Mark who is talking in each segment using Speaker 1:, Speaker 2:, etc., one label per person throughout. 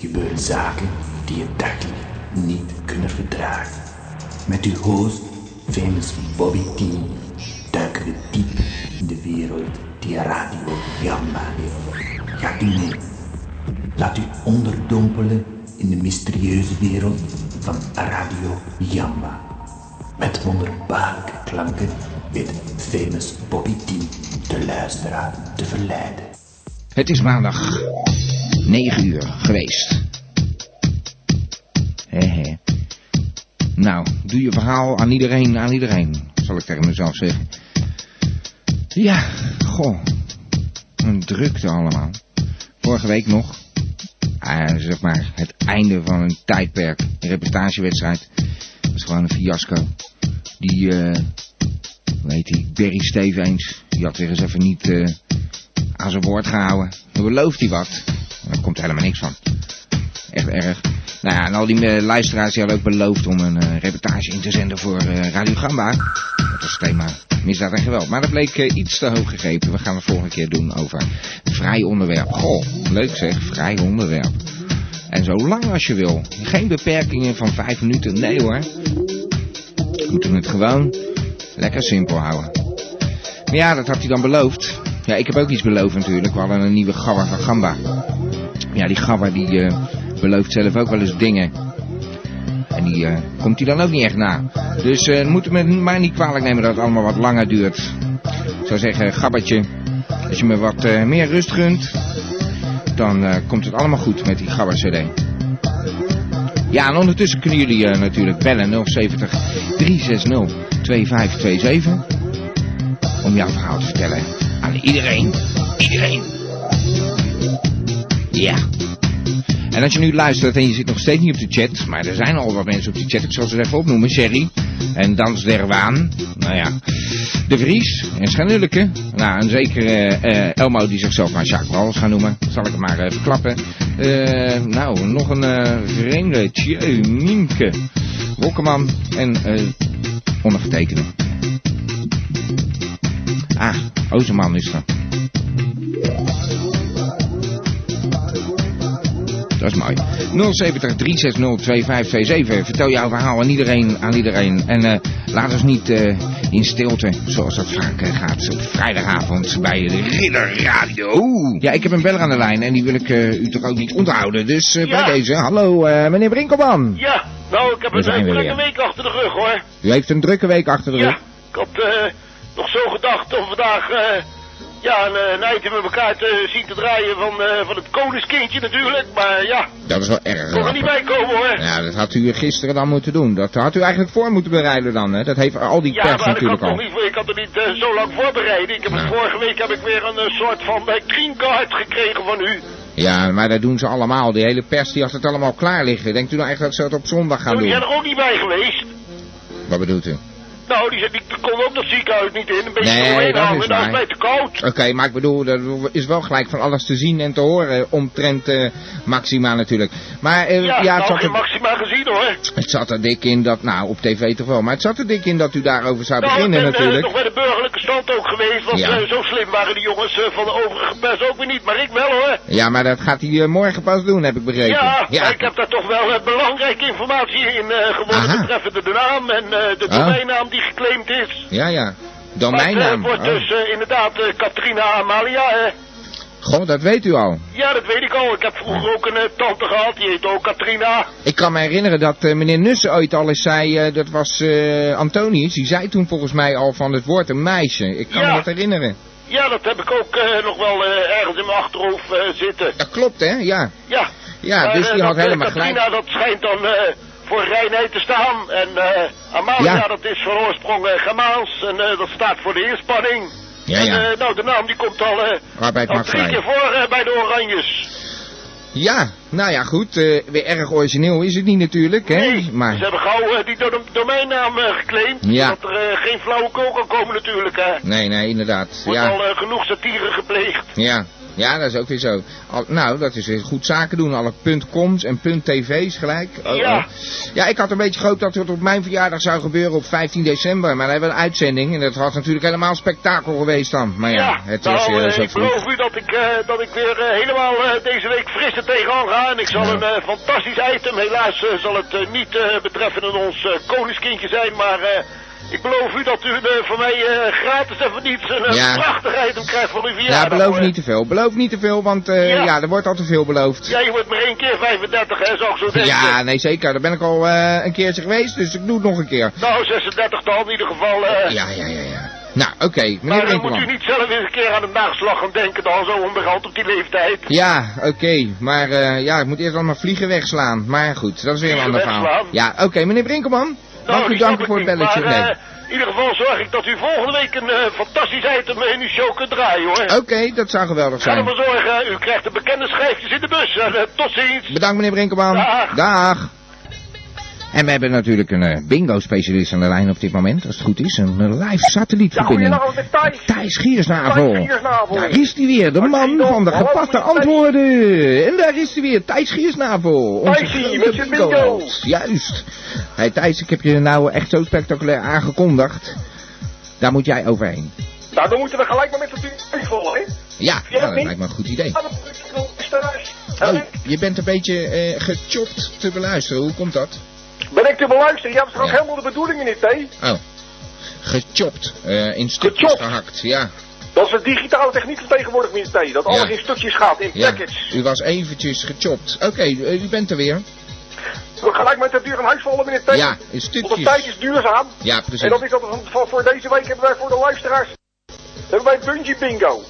Speaker 1: gebeuren zaken die je dagelijks niet kunnen verdragen. Met uw host, famous Bobby T, duiken we diep in de wereld die Radio Gamma heeft. Gaat u mee? Laat u onderdompelen in de mysterieuze wereld van Radio Jamba. Met wonderbaarlijke klanken weet famous Bobby T de luisteraar te verleiden.
Speaker 2: Het is maandag 9 uur geweest. Hé hé. Nou, doe je verhaal aan iedereen, aan iedereen, zal ik tegen mezelf zeggen. Ja, goh. Een drukte allemaal. Vorige week nog. Ah, zeg maar, het einde van een tijdperk. Een reportagewedstrijd. Dat was gewoon een fiasco. Die, eh... hoe heet die? Barry Stevens. Die had weer eens even niet... eh, aan zijn woord gehouden. Dan belooft hij wat. En daar komt helemaal niks van. Echt erg. Nou ja, en al die eh, luisteraars die hadden ook beloofd om een eh, reportage in te zenden voor eh, Radio Gamba. Dat was het thema misdaad en geweld. Maar dat bleek eh, iets te hoog gegrepen. We gaan het volgende keer doen over vrij onderwerp. Goh, leuk zeg, vrij onderwerp. En zo lang als je wil. Geen beperkingen van vijf minuten. Nee hoor. We moeten het gewoon lekker simpel houden. Maar ja, dat had hij dan beloofd. Ja, ik heb ook iets beloofd natuurlijk. We hadden een nieuwe gabber van Gamba. Ja, die gabber die eh, belooft zelf ook wel eens dingen. En die eh, komt hij dan ook niet echt na. Dus eh moeten we maar niet kwalijk nemen dat het allemaal wat langer duurt. Ik zou zeggen, gabbertje, als je me wat eh, meer rust gunt, dan eh, komt het allemaal goed met die gabber CD. Ja, en ondertussen kunnen jullie eh, natuurlijk bellen 070 360 2527 om jouw verhaal te vertellen aan iedereen. Iedereen. Ja. En als je nu luistert en je zit nog steeds niet op de chat, maar er zijn al wat mensen op de chat, ik zal ze even opnoemen, Sherry en Dans der Waan, nou ja, De Vries en Schanulke, nou en zeker eh, eh, Elmo die zichzelf maar Jacques Wals gaan noemen, zal ik hem maar even klappen. Eh, nou, nog een eh, vreemde, Tjeu, Nienke, Rokkeman en eh ondergetekende. Ah, Ozerman is dat. Dat is mooi. 070 360 2527. Vertel jouw verhaal aan iedereen. Aan iedereen. En eh, laat ons niet eh, in stilte, zoals dat vaak eh, gaat, op vrijdagavond bij de Ridder Radio. Ja, ik heb een beller aan de lijn en die wil ik eh, u toch ook niet onthouden. Dus eh,
Speaker 3: Ja.
Speaker 2: bij deze, hallo eh, meneer Brinkelman.
Speaker 3: Ja, nou, ik heb
Speaker 2: Daar
Speaker 3: een
Speaker 2: zijn we
Speaker 3: hele drukke
Speaker 2: weer.
Speaker 3: week achter de rug, hoor.
Speaker 2: U heeft een drukke week achter de rug.
Speaker 3: Ja, ik had eh, nog zo gedacht om vandaag eh, ja, een, eh, een item met elkaar te zien te draaien van, eh, van het koningskindje natuurlijk. Maar ja,
Speaker 2: Dat is wel erg.
Speaker 3: kon er niet
Speaker 2: grappig.
Speaker 3: bij komen, hoor.
Speaker 2: Ja, dat had u gisteren dan moeten doen. Dat had u eigenlijk voor moeten bereiden dan, hè? Dat heeft al die
Speaker 3: Ja,
Speaker 2: pers
Speaker 3: maar ik had,
Speaker 2: natuurlijk
Speaker 3: nog
Speaker 2: al.
Speaker 3: niet, ik had er niet eh, zo lang voorbereid. Ik heb het
Speaker 2: Nou.
Speaker 3: vorige week heb ik weer een eh, soort van eh, green card gekregen van u.
Speaker 2: Ja, maar dat doen ze allemaal. Die hele pers die had het allemaal klaar liggen. Denkt u nou echt dat ze dat op zondag gaan
Speaker 3: Toen
Speaker 2: doen?
Speaker 3: zijn er ook niet bij geweest.
Speaker 2: Wat bedoelt u?
Speaker 3: Nou, die, zei, die kon ook dat ziekenhuis niet in. Een beetje
Speaker 2: Nee,
Speaker 3: doorheen
Speaker 2: dat
Speaker 3: hangen,
Speaker 2: is
Speaker 3: dat is
Speaker 2: waar.
Speaker 3: mij te koud.
Speaker 2: Oké, maar ik bedoel, er is wel gelijk van alles te zien en te horen omtrent eh, Maxima natuurlijk. Maar eh,
Speaker 3: Ja,
Speaker 2: ja,
Speaker 3: ja
Speaker 2: het,
Speaker 3: nou,
Speaker 2: zat
Speaker 3: geen
Speaker 2: er,
Speaker 3: maxima gezien, hoor.
Speaker 2: het zat er dik in dat, nou op tv toch wel, maar het zat er dik in dat u daarover zou
Speaker 3: Nou, ik
Speaker 2: beginnen
Speaker 3: ben eh,
Speaker 2: natuurlijk.
Speaker 3: nog bij de burgerlijke stand ook geweest, want
Speaker 2: Ja.
Speaker 3: eh, zo slim waren die jongens eh, van de overige pers ook weer niet, maar ik wel hoor.
Speaker 2: Ja, maar dat gaat hij eh, morgen pas doen, heb ik begrepen.
Speaker 3: Ja, maar ik heb daar toch wel eh, belangrijke informatie in eh gewonnen
Speaker 2: Aha.
Speaker 3: betreffende de naam en eh, de
Speaker 2: Ah.
Speaker 3: domeinnaam die geclaimd is.
Speaker 2: ja, ja. Dan
Speaker 3: Maar
Speaker 2: mijn
Speaker 3: het, eh,
Speaker 2: naam.
Speaker 3: wordt
Speaker 2: Oh.
Speaker 3: dus eh, inderdaad eh, Katrina Amalia. hè.
Speaker 2: Goh, dat weet u al.
Speaker 3: ja, dat weet ik al. Ik heb
Speaker 2: Oh.
Speaker 3: vroeger ook een eh, tante gehad, die heet ook Katrina.
Speaker 2: Ik kan me herinneren dat eh, meneer Nussen ooit al eens zei, eh, dat was eh, Antonius, die zei toen volgens mij al van het woord een meisje. Ik kan
Speaker 3: Ja.
Speaker 2: me dat herinneren.
Speaker 3: Ja, dat heb ik ook eh, nog wel eh, ergens in mijn achterhoofd eh, zitten.
Speaker 2: Dat klopt hè, ja.
Speaker 3: Ja.
Speaker 2: Ja,
Speaker 3: Maar,
Speaker 2: dus
Speaker 3: eh,
Speaker 2: die had
Speaker 3: dat, eh,
Speaker 2: helemaal
Speaker 3: Katrina,
Speaker 2: gelijk.
Speaker 3: dat schijnt dan eh, voor reinheid te staan. En eh, Amalia,
Speaker 2: Ja.
Speaker 3: dat is van oorsprong eh, Germaans. En eh, dat staat voor de inspanning.
Speaker 2: Ja,
Speaker 3: en,
Speaker 2: ja.
Speaker 3: eh, nou, de naam die komt al, eh,
Speaker 2: Arbeid
Speaker 3: al
Speaker 2: mag
Speaker 3: drie keer
Speaker 2: vrij.
Speaker 3: voor eh, bij de Oranjes.
Speaker 2: Ja, nou ja goed, eh, weer erg origineel is het niet natuurlijk hè.
Speaker 3: Nee, ze
Speaker 2: Maar,
Speaker 3: hebben gauw eh, die do- domeinnaam eh, geclaimd.
Speaker 2: Ja.
Speaker 3: Dat er eh, geen flauwekul kan komen natuurlijk. Hè.
Speaker 2: nee, nee, inderdaad.
Speaker 3: Wordt
Speaker 2: Ja,
Speaker 3: al eh, genoeg satire gepleegd.
Speaker 2: ja. Ja, dat is ook weer zo. Al- nou, dat is weer goed zaken doen. Alle .coms en .tv's gelijk. Oh,
Speaker 4: Ja.
Speaker 2: oh. ja, ik had een beetje gehoopt dat het op mijn verjaardag zou gebeuren op 15 december. Maar dan hebben we een uitzending en dat had natuurlijk helemaal spektakel geweest dan. Maar ja, het was
Speaker 4: nou,
Speaker 2: eh,
Speaker 4: eh,
Speaker 2: zo
Speaker 4: ik
Speaker 2: vroeg.
Speaker 4: beloof u dat ik, eh, dat ik weer eh, helemaal eh, deze week fris er tegenaan ga. En ik zal
Speaker 2: Nou.
Speaker 4: een eh, fantastisch item, helaas eh, zal het eh, niet eh betreffende ons eh, koningskindje zijn, maar... eh, ik beloof u dat u eh, van mij eh, gratis en voor niets een eh,
Speaker 2: Ja.
Speaker 4: prachtig item krijgt voor uw verjaardag.
Speaker 2: Ja, Nou, beloof
Speaker 4: hoor.
Speaker 2: niet te veel. Beloof niet te veel, want eh,
Speaker 4: Ja.
Speaker 2: ja. er wordt al te veel beloofd.
Speaker 4: Ja, je wordt maar één keer 35, hè, zou ik zo denken.
Speaker 2: Ja, nee zeker. Daar ben ik al eh, een keertje geweest, dus ik doe het nog een keer.
Speaker 4: Nou, 36 dan in ieder geval. eh.
Speaker 2: Ja, ja, ja, ja. Nou, oké.
Speaker 4: Maar
Speaker 2: Meneer
Speaker 4: dan moet u
Speaker 2: Brinkman.
Speaker 4: niet zelf eens een keer aan de nageslag gaan denken, dan zo onbegand op die leeftijd.
Speaker 2: Ja, oké. Maar eh, ja, ik moet eerst allemaal vliegen wegslaan. Maar goed, dat is weer een
Speaker 4: Vliegen
Speaker 2: ander verhaal.
Speaker 4: wegslaan?
Speaker 2: Ja, oké, meneer Brinkelman.
Speaker 4: Nou,
Speaker 2: mag u
Speaker 4: die snap
Speaker 2: danken voor
Speaker 4: ik
Speaker 2: het
Speaker 4: niet,
Speaker 2: belletje.
Speaker 4: Maar,
Speaker 2: Nee.
Speaker 4: eh, in ieder geval zorg ik dat u volgende week een eh, fantastisch item in uw show kunt draaien, hoor.
Speaker 2: Oké, dat zou geweldig
Speaker 4: Ga
Speaker 2: zijn.
Speaker 4: ervoor zorgen, u krijgt de bekende schijfjes in de bus. En, eh, tot ziens.
Speaker 2: Bedankt meneer Brinkelman.
Speaker 4: Dag.
Speaker 2: En we hebben natuurlijk een eh, bingo-specialist aan de lijn op dit moment, als het goed is. Een eh, live satellietverbinding.
Speaker 4: met Thijs.
Speaker 2: Thijs Giersnavel.
Speaker 4: Thijs Giersnavel.
Speaker 2: Daar is hij weer, de man
Speaker 4: nog?
Speaker 2: van de
Speaker 4: Hallo,
Speaker 2: gepaste
Speaker 4: meneer Thijs.
Speaker 2: antwoorden. En daar is hij weer, Thijs Giersnavel. onze
Speaker 4: Thijsie,
Speaker 2: grote
Speaker 4: met zijn
Speaker 2: bingo.
Speaker 4: bingo's.
Speaker 2: Juist. Hey Thijs, ik heb je nou echt zo spectaculair aangekondigd. Daar moet jij overheen.
Speaker 4: Nou, dan moeten we gelijk maar met de buurt volgen, hè?
Speaker 2: Ja,
Speaker 4: Ja,
Speaker 2: nou, dat
Speaker 4: Pien.
Speaker 2: lijkt me een goed idee.
Speaker 4: Oh.
Speaker 2: Oh, je bent een beetje eh gechopt te beluisteren. Hoe komt dat?
Speaker 4: Ben ik te beluisteren? Ja, dat is toch
Speaker 2: Ja.
Speaker 4: helemaal de bedoeling niet, hè?
Speaker 2: Oh, gechopt. eh, in stukjes
Speaker 4: Gechopt?
Speaker 2: gehakt, ja.
Speaker 4: Dat is de digitale techniek van tegenwoordig, meneer Thij, Dat alles
Speaker 2: Ja.
Speaker 4: in stukjes gaat, in
Speaker 2: ja.
Speaker 4: packets.
Speaker 2: U was eventjes gechopt. Oké, eh, u bent er weer.
Speaker 4: We gelijk met de duur een huis vallen, meneer Thij.
Speaker 2: Ja, in
Speaker 4: Want de tijd
Speaker 2: stukjes.
Speaker 4: is duurzaam.
Speaker 2: Ja, precies.
Speaker 4: En dat is dat we van- van- voor deze week hebben wij voor de luisteraars... Hebben wij Bungee Bingo.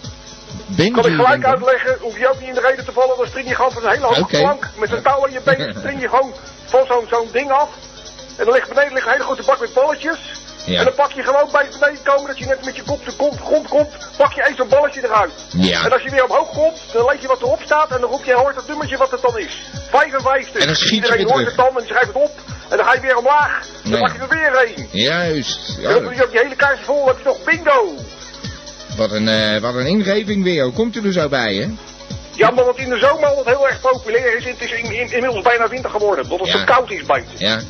Speaker 2: Ben
Speaker 4: Kan ik
Speaker 2: je
Speaker 4: gelijk
Speaker 2: dan-
Speaker 4: uitleggen, hoef je ook niet in de reden te vallen, dan string je gewoon van een hele hoge
Speaker 2: Oké.
Speaker 4: plank met een touw aan je been, string je gewoon van zo'n zo'n ding af. En dan ligt beneden ligt een hele grote bak met balletjes.
Speaker 2: Ja.
Speaker 4: En dan pak je gewoon bij het beneden komen, dat je net met je kop de kont- grond komt, pak je eens zo'n balletje eruit.
Speaker 2: Ja.
Speaker 4: En als je weer omhoog komt, dan lees je wat erop staat en dan roep je, hoort het nummertje wat het dan is. 55.
Speaker 2: En dan schiet je
Speaker 4: Iedereen
Speaker 2: weer
Speaker 4: hoort het
Speaker 2: terug.
Speaker 4: dan en die schrijft het op. En dan ga je weer omlaag. Dan
Speaker 2: Nee.
Speaker 4: pak je er weer een.
Speaker 2: Juist. Ja,
Speaker 4: En dan doe je ook die hele kaars vol, dan heb je toch bingo.
Speaker 2: wat, een, eh, wat een ingeving weer. Hoe komt u er zo bij, hè?
Speaker 4: Ja, omdat het in de zomer altijd heel erg populair is. Het is in, in- inmiddels bijna winter geworden, omdat het
Speaker 2: Ja.
Speaker 4: zo koud is buiten.
Speaker 2: Ja.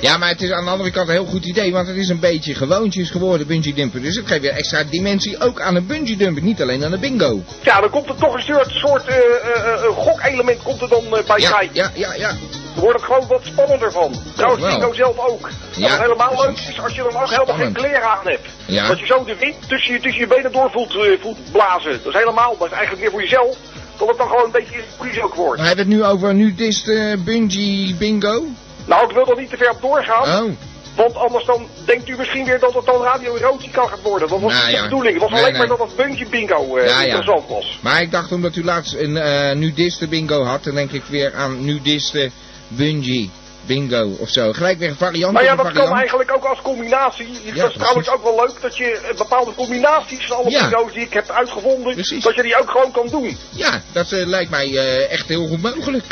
Speaker 2: Ja, maar het is aan de andere kant een heel goed idee, want het is een beetje gewoontjes geworden, bungee dumpen. Dus het geeft weer extra dimensie ook aan een bungee dumpen, niet alleen aan de bingo.
Speaker 4: Ja, dan komt er toch een soort, soort eh, eh, eh, gokelement komt er dan eh, bij
Speaker 2: Ja,
Speaker 4: kijken.
Speaker 2: ja, ja, ja.
Speaker 4: Dan wordt het gewoon wat spannender van. Trouwens,
Speaker 2: wel.
Speaker 4: bingo zelf ook.
Speaker 2: Ja,
Speaker 4: Ja, wat helemaal leuk
Speaker 2: precies.
Speaker 4: is als je dan ook helemaal geen
Speaker 2: Spannend.
Speaker 4: kleren aan hebt.
Speaker 2: Ja.
Speaker 4: Dat je zo de wind tussen je, tussen je benen door voelt, eh, voelt blazen. Dat is helemaal, dat is eigenlijk meer voor jezelf. Dat het dan gewoon een beetje freeze ook wordt.
Speaker 2: Maar hebben we het nu over nudist eh bungee bingo?
Speaker 4: Nou, ik wil er niet te ver op doorgaan.
Speaker 2: Oh,
Speaker 4: Want anders dan denkt u misschien weer dat het dan radioerotie kan gaan worden. Dat was
Speaker 2: Nou
Speaker 4: niet
Speaker 2: ja.
Speaker 4: de bedoeling. Het was
Speaker 2: Nee,
Speaker 4: alleen
Speaker 2: nee.
Speaker 4: maar dat het buntje bingo eh,
Speaker 2: Ja, ja.
Speaker 4: interessant was.
Speaker 2: maar ik dacht omdat u laatst een eh nudiste bingo had, dan denk ik weer aan nudiste bungee bingo of zo. Gelijk weer een variant
Speaker 4: Maar ja,
Speaker 2: op een
Speaker 4: dat kan
Speaker 2: variant.
Speaker 4: eigenlijk ook als combinatie. dat is
Speaker 2: precies.
Speaker 4: trouwens ook wel leuk dat je eh, bepaalde combinaties van alle
Speaker 2: Ja.
Speaker 4: bingo's die ik heb uitgevonden,
Speaker 2: Precies.
Speaker 4: dat je die ook gewoon kan doen.
Speaker 2: Ja, dat eh, lijkt mij eh, echt heel goed mogelijk.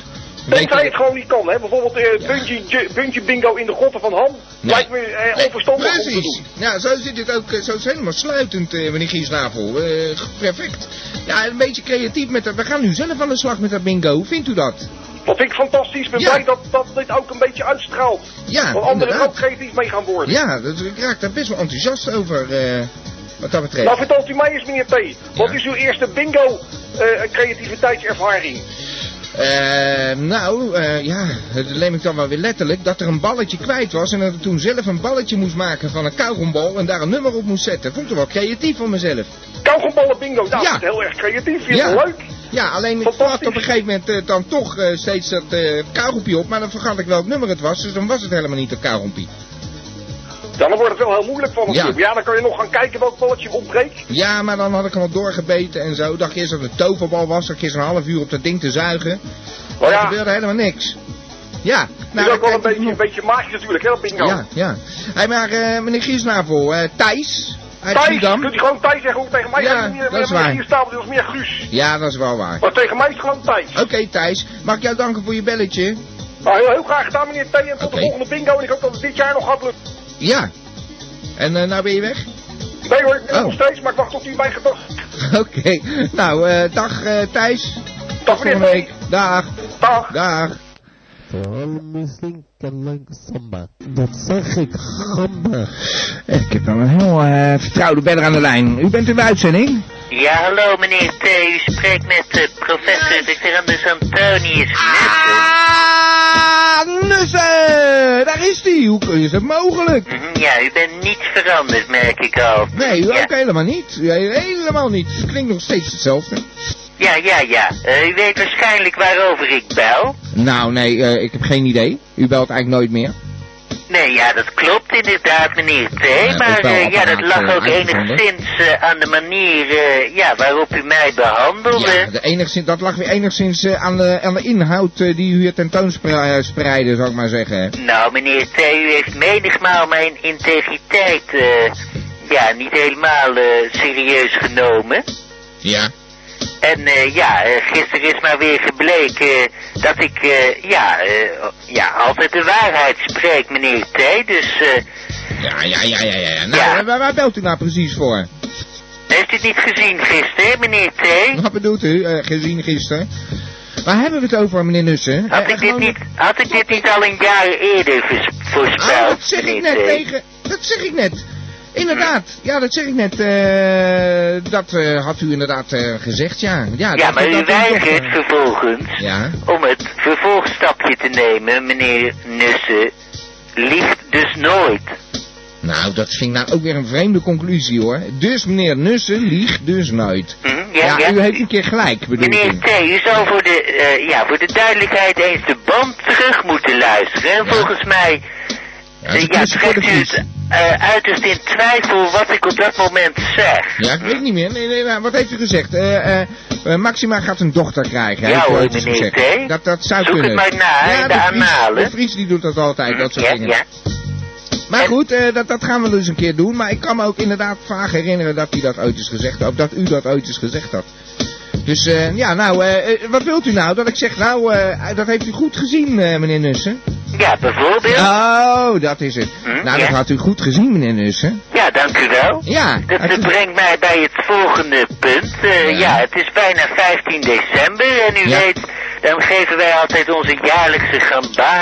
Speaker 4: Tenzij het gewoon niet kan, hè. Bijvoorbeeld eh buntje, ju- buntje bingo in de grotten van Ham. Lijkt me eh,
Speaker 2: Nee,
Speaker 4: onverstandig om te
Speaker 2: Precies.
Speaker 4: doen.
Speaker 2: Ja, zo zit het ook. eh, Zo is het helemaal sluitend, eh, meneer Giesnavel. Eh, perfect. Ja, een beetje creatief met dat. We gaan nu zelf aan de slag met dat bingo. Hoe vindt u dat?
Speaker 4: Dat vind ik fantastisch. Ik ben
Speaker 2: Ja.
Speaker 4: blij dat, dat dit ook een beetje uitstraalt.
Speaker 2: Ja,
Speaker 4: dat anderen er ook
Speaker 2: inderdaad.
Speaker 4: creatief mee gaan worden.
Speaker 2: Ja, dat, ik raak daar best wel enthousiast over. eh, wat dat betreft.
Speaker 4: Nou, vertelt u mij eens, meneer T. Wat
Speaker 2: Ja.
Speaker 4: is uw eerste bingo eh, creativiteitservaring?
Speaker 2: Eh, nou, eh, ja, dat neem ik dan wel weer letterlijk. Dat er een balletje kwijt was en dat ik toen zelf een balletje moest maken van een kauwgombal en daar een nummer op moest zetten. Vond ik wel creatief van mezelf.
Speaker 4: Kauwgomballen bingo, nou,
Speaker 2: Ja.
Speaker 4: dat is heel erg creatief. Vind je
Speaker 2: Ja.
Speaker 4: het leuk?
Speaker 2: Ja, alleen ik
Speaker 4: Fantastisch.
Speaker 2: plakte op een gegeven moment eh, dan toch eh, steeds dat eh kauwgompie op, maar dan vergat ik welk nummer het was, dus dan was het helemaal niet een kauwgompie.
Speaker 4: Ja, dan wordt het wel heel moeilijk van
Speaker 2: Ja.
Speaker 4: natuurlijk. Ja. dan kan je nog gaan kijken welk balletje ontbreekt.
Speaker 2: Ja, maar dan had ik hem al doorgebeten en zo. Dacht ik eerst dat het een toverbal was, dacht ik eerst een half uur op dat ding te zuigen.
Speaker 4: Maar
Speaker 2: Er
Speaker 4: Oh ja, het
Speaker 2: gebeurde helemaal niks. Ja, nou,
Speaker 4: is ook wel
Speaker 2: dan kijk
Speaker 4: een
Speaker 2: ik
Speaker 4: beetje, een
Speaker 2: nog-
Speaker 4: beetje magisch natuurlijk, hè, dat bingo.
Speaker 2: Ja, ja. Hey, maar eh, meneer Giesnavel, eh, Thijs uit
Speaker 4: Thijs,
Speaker 2: Schiedam.
Speaker 4: kunt u gewoon Thijs zeggen hoe het tegen mij
Speaker 2: Ja,
Speaker 4: gaat. Meneer-
Speaker 2: dat is
Speaker 4: meneer
Speaker 2: waar.
Speaker 4: Hier staat er is meer Guus.
Speaker 2: Ja, dat is wel waar.
Speaker 4: Maar tegen mij is het gewoon Oh, Thijs.
Speaker 2: Oké Thijs, mag ik jou danken voor je belletje?
Speaker 4: Nou, heel, heel graag gedaan, meneer T. En tot
Speaker 2: Oké.
Speaker 4: de volgende bingo. En ik hoop dat het dit jaar nog gaat lukken.
Speaker 2: Ja. En eh, nou ben je weg?
Speaker 4: Nee hoor, ik ben er
Speaker 2: Oh.
Speaker 4: nog steeds, maar ik wacht tot u bij gedacht.
Speaker 2: Oké, nou, eh, dag eh, Thijs.
Speaker 3: Dag
Speaker 2: volgende
Speaker 3: meneer.
Speaker 2: week. Dag.
Speaker 3: Dag.
Speaker 2: Dag.
Speaker 5: Vooral slinken langs samba. Dat zeg ik, gamba.
Speaker 2: Ik heb dan een heel eh, vertrouwde beller aan de lijn. U bent in de uitzending?
Speaker 6: Ja, hallo meneer T. U spreekt met eh, professor Victorandus Antonius Nussel.
Speaker 2: Ah, Nussen! Daar is die. Hoe kun- is dat mogelijk?
Speaker 6: Mhm, Ja, u bent niet veranderd, merk ik al.
Speaker 2: Nee, u
Speaker 6: ja.
Speaker 2: ook helemaal niet. U helemaal niet. Het klinkt nog steeds hetzelfde.
Speaker 6: Ja, ja, ja. Eh, u weet waarschijnlijk waarover ik bel.
Speaker 2: Nou, nee, eh, ik heb geen idee. U belt eigenlijk nooit meer.
Speaker 6: Nee, ja, dat klopt inderdaad, meneer T.
Speaker 2: Ja,
Speaker 6: maar
Speaker 2: ik wel
Speaker 6: eh, ja, dat
Speaker 2: apparaat,
Speaker 6: lag
Speaker 2: eh,
Speaker 6: ook
Speaker 2: uitgevonden.
Speaker 6: enigszins eh, aan de manier eh, ja, waarop u mij behandelde.
Speaker 2: Ja, de enigszins, dat lag weer enigszins eh, aan, de, aan de inhoud eh, die u hier tentoonspreidde, zou ik maar zeggen.
Speaker 6: Nou, meneer T, u heeft menigmaal mijn integriteit eh, ja, niet helemaal eh, serieus genomen.
Speaker 2: Ja.
Speaker 6: En eh, ja, eh, gisteren is maar weer gebleken eh, dat ik eh, ja, eh, ja, altijd de waarheid spreek, meneer T. Dus eh,
Speaker 2: Ja, ja, ja, ja, ja. ja. Nou,
Speaker 6: Ja.
Speaker 2: eh, Waar, waar belt u nou precies voor?
Speaker 6: heeft u het niet gezien gisteren, meneer T?
Speaker 2: Wat bedoelt u, eh, gezien gisteren? Waar hebben we het over, meneer Nussen?
Speaker 6: Had
Speaker 2: Eh,
Speaker 6: ik dit
Speaker 2: gewoon-
Speaker 6: niet, had ik dit niet al een jaar eerder vers-
Speaker 2: Ah,
Speaker 6: voorspeld,
Speaker 2: dat zeg ik
Speaker 6: meneer
Speaker 2: net
Speaker 6: T?
Speaker 2: tegen... Dat zeg ik net. Inderdaad, ja, dat zeg ik net. eh, dat eh, had u inderdaad eh, gezegd, ja. Ja,
Speaker 6: Ja,
Speaker 2: Nou, dat-
Speaker 6: maar
Speaker 2: dat-
Speaker 6: u
Speaker 2: dat- dat-
Speaker 6: weigert vervolgens
Speaker 2: Ja.
Speaker 6: om het vervolgstapje te nemen, meneer Nussen. Liegt dus nooit.
Speaker 2: Nou, dat vind ik nou ook weer een vreemde conclusie, hoor. Dus meneer Nussen liegt dus nooit.
Speaker 6: Hm? Ja,
Speaker 2: Ja,
Speaker 6: ja.
Speaker 2: u heeft een keer gelijk, bedoel
Speaker 6: Meneer
Speaker 2: ik.
Speaker 6: T, u zou voor de, eh, ja, voor de duidelijkheid eens de band terug moeten luisteren. En volgens mij
Speaker 2: Ja,
Speaker 6: eh,
Speaker 2: dat
Speaker 6: ja,
Speaker 2: is voor de
Speaker 6: trekt u
Speaker 2: kies.
Speaker 6: het eh, uiterst in twijfel wat ik op dat moment zeg.
Speaker 2: Ja, ik weet niet meer. Nee, nee, maar wat heeft u gezegd? Eh, eh, eh, Maxima gaat een dochter krijgen,
Speaker 6: Ja,
Speaker 2: heeft u
Speaker 6: hoor,
Speaker 2: ooit eens
Speaker 6: meneer
Speaker 2: gezegd.
Speaker 6: T.
Speaker 2: Dat, dat zou
Speaker 6: Zoek het
Speaker 2: kunnen.
Speaker 6: maar na, hè,
Speaker 2: ja,
Speaker 6: de
Speaker 2: Vries-
Speaker 6: analen.
Speaker 2: De Vries die doet dat altijd, dat soort
Speaker 6: ja,
Speaker 2: dingen.
Speaker 6: ja.
Speaker 2: Maar
Speaker 6: En-
Speaker 2: goed, eh, dat, dat gaan we dus een keer doen. Maar ik kan me ook inderdaad vaag herinneren dat hij dat ooit eens gezegd had. Of dat u dat ooit eens gezegd had. Dus eh, ja, nou, eh, eh, wat wilt u nou? Dat ik zeg, nou, eh, dat heeft u goed gezien, eh, meneer Nussen.
Speaker 6: ja, bijvoorbeeld. Ja.
Speaker 2: Oh, dat is het.
Speaker 6: Hm,
Speaker 2: nou, dat
Speaker 6: ja.
Speaker 2: had u goed gezien, meneer Nussen.
Speaker 6: dank u wel.
Speaker 2: Ja.
Speaker 6: Dat,
Speaker 2: had
Speaker 6: dat
Speaker 2: u-
Speaker 6: brengt mij bij het volgende punt. Eh,
Speaker 2: Ja.
Speaker 6: ja. het is bijna 15 december en u
Speaker 2: Ja.
Speaker 6: weet, dan geven wij altijd onze jaarlijkse